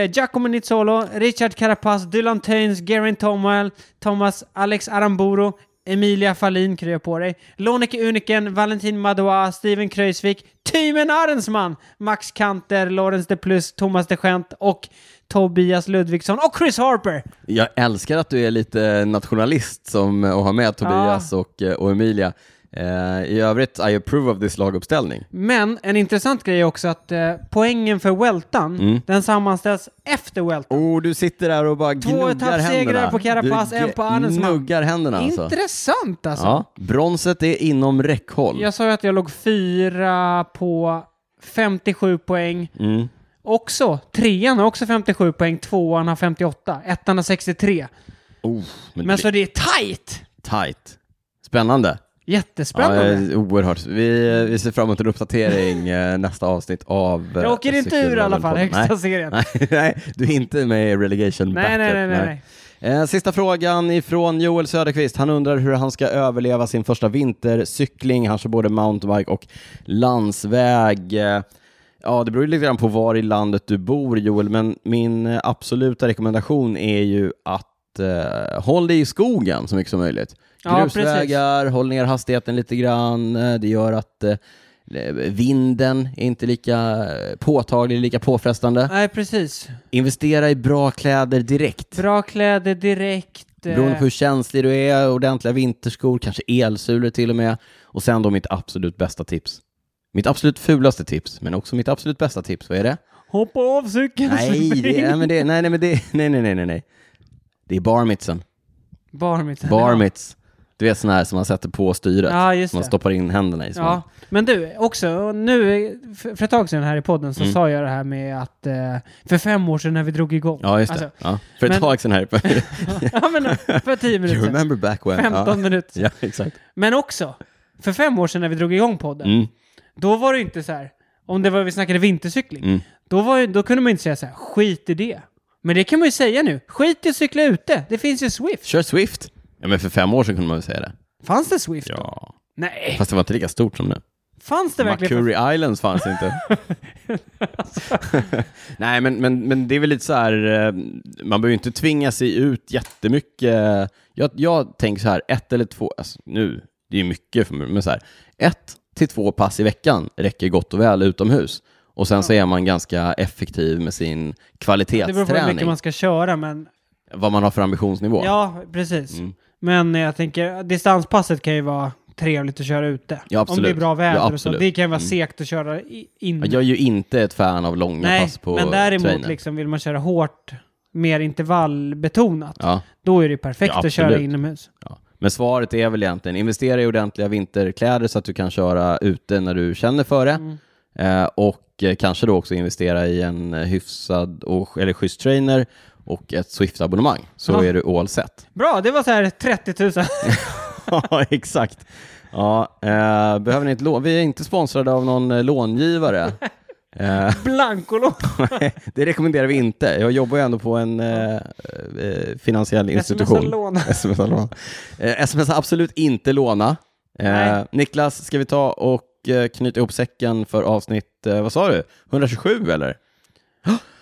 eh, Giacomo Nizzolo, Richard Carapaz, Dylan Teuns, Gerin Tomwell, Thomas, Alex Aramburu, Emilia Fahlin kryar på dig, Lonneke Uniken, Valentin Madoua, Steven Kröjsvik, Tymen Arensman, Max Kanter, Lorentz de Plus, Thomas de Gent och Tobias Ludvigsson och Chris Harper! Jag älskar att du är lite nationalist som, och har med Ah. Tobias och, och Emilia. Eh, I övrigt, I approve of this laguppställning. Men en intressant grej är också att eh, poängen för Weltan, Mm. den sammanställs efter Weltan. Oh, du sitter där och bara gnuggar etappsegrar händerna. på Carapaz, Du en på Arnesman. Gnuggar händerna alltså. Intressant alltså! Ja, bronset är inom räckhåll. Jag sa ju att jag låg fyra på 57 poäng. Mm. Också, trean har också 57 poäng, tvåan har 58, ettan har 63. Oh, men, Men det så det är tajt! blir tight. Spännande. Jättespännande. Ja, eh, oerhört. Vi, vi ser fram emot en uppdatering eh, nästa avsnitt av... eh, jag åker inte ur i alla fall, Cykelradiopodden. högsta serien. Nej, nej, nej, du är inte med i relegation Nej, nej, battle. nej, nej, nej. Eh, Sista frågan ifrån Joel Söderqvist. Han undrar hur han ska överleva sin första vintercykling. Han kör både mountainbike och landsväg. Eh, Ja, det beror ju lite grann på var i landet du bor, Joel, men min eh, absoluta rekommendation är ju att eh, håll dig i skogen så mycket som möjligt. Ja, Grusvägar, håll ner hastigheten lite grann. Eh, Det gör att eh, vinden är inte lika eh, påtaglig, lika påfrestande. Nej, precis. Investera i bra kläder direkt. Bra kläder direkt. eh, Beroende på hur känslig du är, ordentliga vinterskor, kanske elsulor till och med. Och sen då mitt absolut bästa tips. Mitt absolut fulaste tips, men också mitt absolut bästa tips. Vad är det? Hoppa av cykeln Nej, och det, spring. nej, men det, nej, nej, men det, nej, nej, nej, nej, nej. Det är barmitsen. Barmits. Barmits. Du vet sån här som man sätter på styret. Ja, just som man det. stoppar in händerna i. som man- Ja, men du, också nu, för för ett tag sedan här i podden Mm. så sa jag det här med att eh, för fem år sedan när vi drog igång. ja just det. Alltså, ja. För ett men- tag sedan här. ja, men för tio you minuter sedan. remember back when. 15 ja. minuter sedan. Ja, exakt. Men också, för fem år sedan när vi drog igång podden, Mm. då var det ju inte så här, om det var vi snackade vintercykling, Mm. då, var, ju- då kunde man ju inte säga så här, skit i det. Men det kan man ju säga nu, skit i att cykla ute, det finns ju Swift. Kör Swift. Ja, men för fem år sedan kunde man väl säga det. Fanns det Swift då? Ja. Nej, Fast det var inte lika stort som nu. fanns det verkligen? Macquarie Islands fanns inte. Nej, men, men, men det är väl lite så här, eh, man behöver ju inte tvinga sig ut jättemycket. Jag, jag tänker så här, ett eller två, alltså nu, det är ju mycket för mig, men så här, ett till två pass i veckan räcker gott och väl utomhus. Och sen så är man ganska effektiv med sin det beror på hur mycket kvalitetsträning, man ska köra, men vad man har för ambitionsnivå. Ja, precis. Mm. Men jag tänker, distanspasset kan ju vara trevligt att köra ute. Ja, absolut. Om det är bra väder Ja, och så. absolut. Mm. Det kan vara segt att köra i- in. Jag är ju inte ett fan av långa Nej, pass på men däremot trainen. liksom vill man köra hårt, mer intervallbetonat, Ja. då är det perfekt Ja, att köra absolut. inomhus. Ja. Men svaret är väl egentligen, investera i ordentliga vinterkläder så att du kan köra ute när du känner för det. Eh, och eh, kanske då också investera i en eh, hyfsad och, eller schysst trainer och ett Swift-abonnemang, så Ja. är du all set. Bra, det var så här 30 000. ja, exakt. Ja, eh, behöver ni ett lån? Vi är inte sponsrade av någon eh, långivare. Eh, Blankolån. det rekommenderar vi inte. Jag jobbar ju ändå på en eh, eh, finansiell institution. Lån. Smsa låna. Eh, smsa absolut inte låna. Eh, Nej. Niklas, ska vi ta och eh, knyta ihop säcken för avsnitt, eh, vad sa du, 127 eller?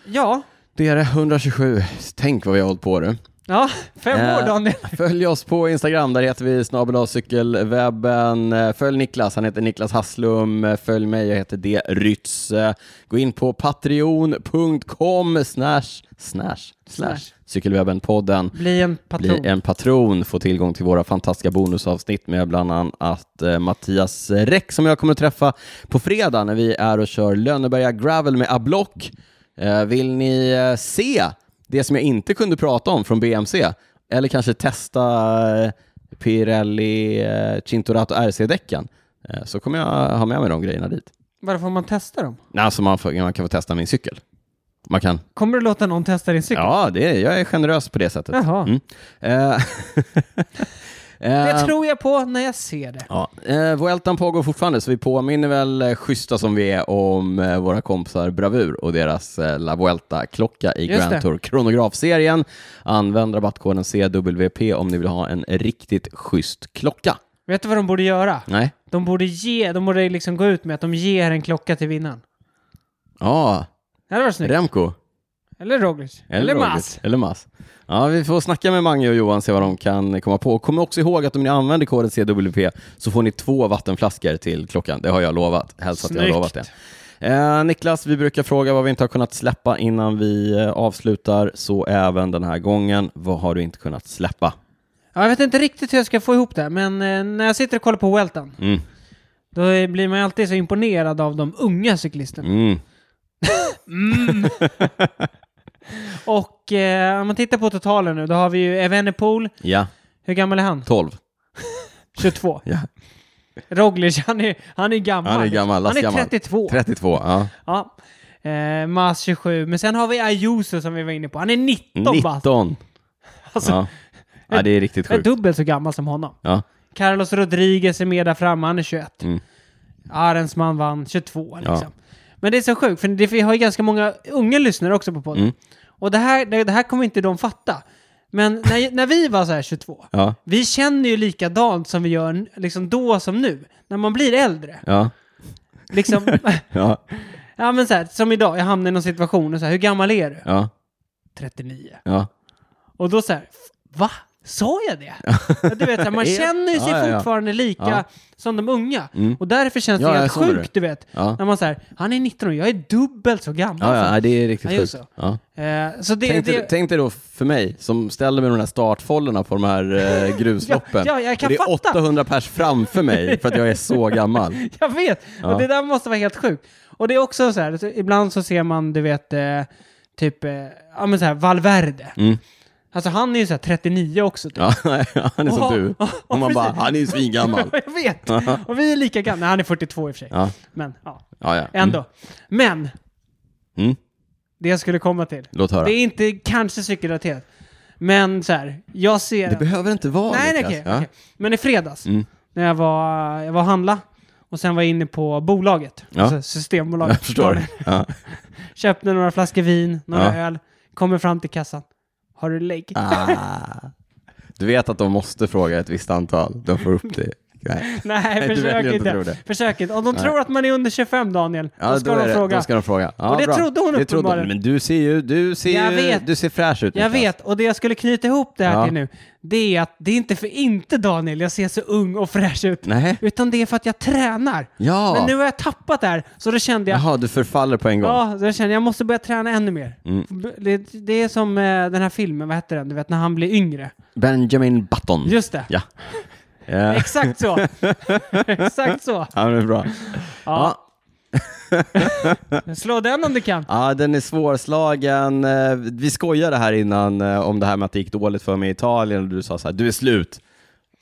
Ja, Det är det, 127. Tänk vad vi har hållit på du. ja, fem Eh, år Daniel. Följ oss på Instagram, där heter vi snabel cykelwebben. Eh, Följ Niklas, han heter Niklas Hasslum. Eh, Följ mig, jag heter D. Rytz. Eh, Gå in på patreon.com slash, slash, slash, Slash. cykelwebben-podden. Bli en patron. Bli en patron, få tillgång till våra fantastiska bonusavsnitt med bland annat eh, Mattias Räck som jag kommer att träffa på fredag när vi är och kör Lönneberga Gravel med Ablock. Eh, vill ni eh, se det som jag inte kunde prata om från BMC eller kanske testa eh, Pirelli eh, Cintorato RC-däcken eh, så kommer jag ha med mig de grejerna dit. Varför får man testa dem? Nej, Alltså man, får, man kan få testa min cykel. man kan. Kommer du låta någon testa din cykel? Ja, det är, jag är generös på det sättet. Jaha. Mm. Eh, Det eh, tror jag på när jag ser det. Ja, eh, Vueltan pågår fortfarande, så vi påminner väl eh, schyssta som vi är om eh, våra kompisar Bravur och deras eh, La Vuelta-klocka i Just Grand det. Tour Kronografserien. Använd rabattkoden CWP om ni vill ha en riktigt schysst klocka. Vet du vad de borde göra? Nej? De borde ge, de borde liksom gå ut med att de ger en klocka till vinnaren. Ja, Det hade varit snyggt. Remco. Eller Roglic. Eller, Roglic. Mas. Eller Mas. Ja, vi får snacka med Mange och Johan, se vad de kan komma på. Kom också ihåg att om ni använder koden CWP så får ni två vattenflaskor till klockan. Det har jag lovat. Hälsa Alltså att jag har Snyggt. lovat det. Eh, Niklas, vi brukar fråga vad vi inte har kunnat släppa innan vi eh, avslutar, så även den här gången. Vad har du inte kunnat släppa? Ja, jag vet inte riktigt hur jag ska få ihop det, men eh, när jag sitter och kollar på Weltan, Mm. då är- blir man ju alltid så imponerad av de unga cyklisterna. Mm. Och eh, om man tittar på totalen nu, då har vi ju Evenepoel. Ja, Hur gammal är han? 12. 22. Ja. Roglic, han är, han är gammal. Han är gammal, Han är lastgammal. 32. 32, ja. Ja. Eh, Mas 27. Men sen har vi Ayuso som vi var inne på. Han är 19 bast. 19. Alltså, Ja. ja, det är riktigt är sjukt. dubbelt så gammal som honom. Ja. Carlos Rodriguez är med där framme, han är 21. Mm. Arensman vann 22 liksom. Men det är så sjukt, för det- vi har ju ganska många unga lyssnare också på podden. Mm. Och det här, det, det här kommer inte de fatta. Men när, när vi var så här 22, Ja. vi känner ju likadant som vi gör n- liksom då som nu, när man blir äldre. Ja. Liksom, Ja. ja men så här, som idag, jag hamnar i någon situation och så här, hur gammal är du? Ja. 39. Ja. Och då så här, "F- va? Sa jag det? Du vet, så här, man Ja. känner ju sig Ja, ja, ja. fortfarande lika Ja. som de unga. Mm. Och därför känns det Ja, jag helt såg det. sjukt, du vet. Ja. När man säger, han är 19 år, jag är dubbelt så gammal. Ja, ja, som-" nej, det är riktigt Ja, sjukt. just Ja. Eh, så det, Tänk, dig, det, tänk dig då för mig som ställer mig i de här startfållorna på de här eh, grusloppen. Ja, ja, jag kan och det är fatta. 800 pers framför mig för att jag är så gammal. jag vet! Ja. Och det där måste vara helt sjukt. Och det är också så här, så ibland så ser man, du vet, eh, typ, eh, ja men så här, Valverde. Mm. Alltså han är ju så här 39 också. Typ. Ja, nej, han är som Ja, du. ja, Och man bara, precis. han är ju svingammal. jag vet! Och vi är lika gamla. Nej, han är 42 i och för sig. Ja, Men, ja. ja, ja. Mm. Ändå. Men, Mm. det jag skulle komma till. Låt höra. Det Det, är inte kanske cykelrelaterat. Men så här, jag ser... behöver inte vara nej, nej, Niklas. okej. ja. okej. Men i fredags, Mm. när jag var, jag var och handla och sen var jag inne på bolaget, Ja. alltså Systembolaget. Jag förstår. Ja. Köpte några flaskor vin, några Ja. öl, kommer fram till kassan. Har du lägg? Ah. Du vet att de måste fråga ett visst antal. De får upp det. Nej. Nej, du försök verkar inte. tro det. Försök inte. Om de tror att man är under 25, Daniel, Ja, då ska är de det- fråga. Då ska de fråga. Ja, Och det bra. trodde hon det trodde hon. uppenbarligen. Men du ser ju, du ser Jag ju, vet. du ser fräsch ut. Jag Niklas. vet, och det jag skulle knyta ihop det här Ja. till nu, det är att det är inte för inte Daniel jag ser så ung och fräsch ut, Nej. utan det är för att jag tränar. Ja. Men nu har jag tappat det här, så då kände jag, Jaha, du förfaller på en gång. ja, så jag kände jag måste börja träna ännu mer. Mm. Det, det är som eh, den här filmen, vad heter den, du vet när han blir yngre. Benjamin Button. Just det, Ja. Eh, exakt så. exakt så. Ja, men det är bra. Ja. Slå den om du kan. Ja, den är svårslagen. Eh, Vi skojade här innan eh, om det här med att det gick dåligt för mig i Italien och du sa så här, du är slut.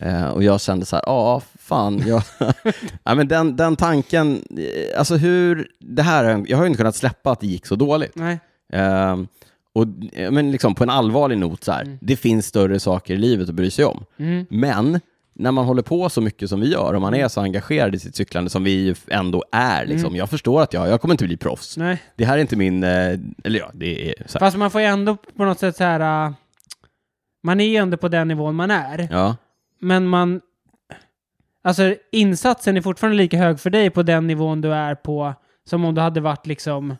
Eh, Och jag kände så här, ja, fan. Jag... ja, men den, den tanken, eh, alltså hur, det här, har jag- jag har ju inte kunnat släppa att det gick så dåligt. Nej. Eh, Och, eh, men liksom på en allvarlig not, så här, det finns större saker i livet att bry sig om. Mm. Men när man håller på så mycket som vi gör och man är så engagerad i sitt cyklande som vi ju ändå är, liksom, jag förstår att jag, jag kommer inte bli proffs. Nej. Det här är inte min, eh, eller ja, det är så här. Fast man får ju ändå på något sätt så här, eh, man är ju ändå på den nivån man är. Ja, men man... Alltså insatsen är fortfarande lika hög för dig på den nivån du är på som om du hade varit liksom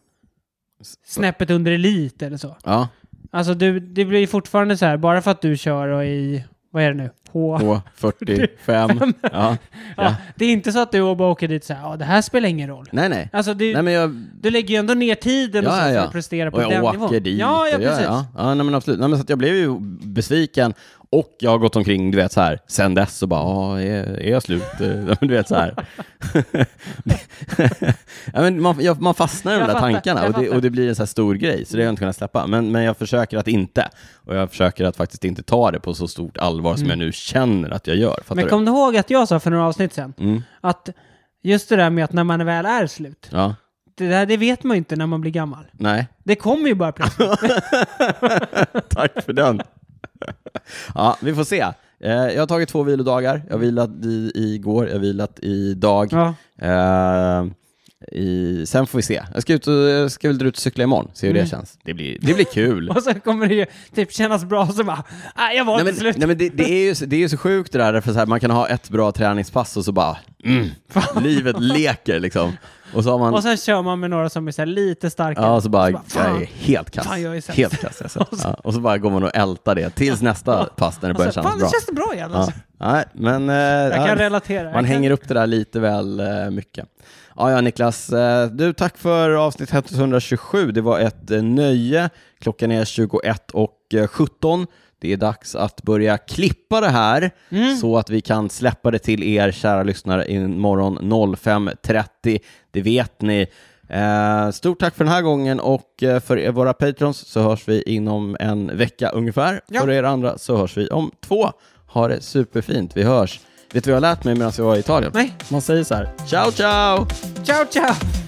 snäppet under elit eller så. ja, Alltså du, det blir fortfarande så här, bara för att du kör och i, vad är det nu, H... på 45. Ja. Ja, det är inte så att du bara åker dit så här, ja det här spelar ingen roll. Nej, nej. Alltså du, nej men jag, du lägger ju ändå ner tiden och Ja, så här ja, för ja. att prestera på och den jag nivån. åker dit. ja, ja, och jag- precis. Ja, ja nej, men absolut. Nej, men så att jag blev ju besviken och jag har gått omkring, du vet så här, sen dess och bara, "Ah, är, är jag slut? Eh, men du vet så här. ja, men man, jag, man fastnar i de Jag där fattar, tankarna jag och det, fattar. och det blir en så här stor grej, så det har jag inte kunnat släppa. Men, men jag försöker att inte, och jag försöker att faktiskt inte ta det på så stort allvar som jag nu känner att jag gör. Fattar Mm. Men du? kom du ihåg att jag sa för några avsnitt sedan Mm. att just det där med att när man väl är slut, Ja, det där det vet man ju inte när man blir gammal. Nej, Det kommer ju bara plötsligt. tack för den. ja, vi får se. Eh, Jag har tagit två vilodagar. Jag har vilat i, igår, jag har vilat idag. ja. Eh, i, sen får vi se. Jag ska, ut och, jag ska väl dra ut och cykla imorgon, se hur Mm. det känns. Det blir, det blir kul. Och sen kommer det ju typ kännas bra och så bara, ah, jag var nej, till men, slut. nej, men det, det, är ju, så- det är ju så sjukt det där, för så här, man kan ha ett bra träningspass och så bara, mm, livet leker liksom. Och så har man, Och sen kör man med några som är så här lite starkare. ja, så bara, Och så bara, jag är fan. helt kass. Fan, jag är sämst. helt kass alltså. ja, och så bara går man och ältar det tills nästa pass när det Och börjar så, kännas alltså, fan, bra. det känns det bra igen. Ja, Alltså. nej, men, eh, Jag ja, kan relatera. man Jag kan... hänger upp det där lite väl eh, mycket. Ja, ja, Niklas. eh, Du, tack för avsnitt 127. Det var ett eh, nöje. Klockan är 21 och eh, 17. Det är dags att börja klippa det här så att vi kan släppa det till er kära lyssnare imorgon 05.30. Det vet ni. Eh, Stort tack för den här gången och eh, för er, våra patrons så hörs vi inom en vecka ungefär. Ja. För er andra så hörs vi om två. Ha det superfint. Vi hörs. Vet du vad jag har lärt mig medan jag var i Italien? Nej. Man säger så här, ciao ciao! Ciao, ciao!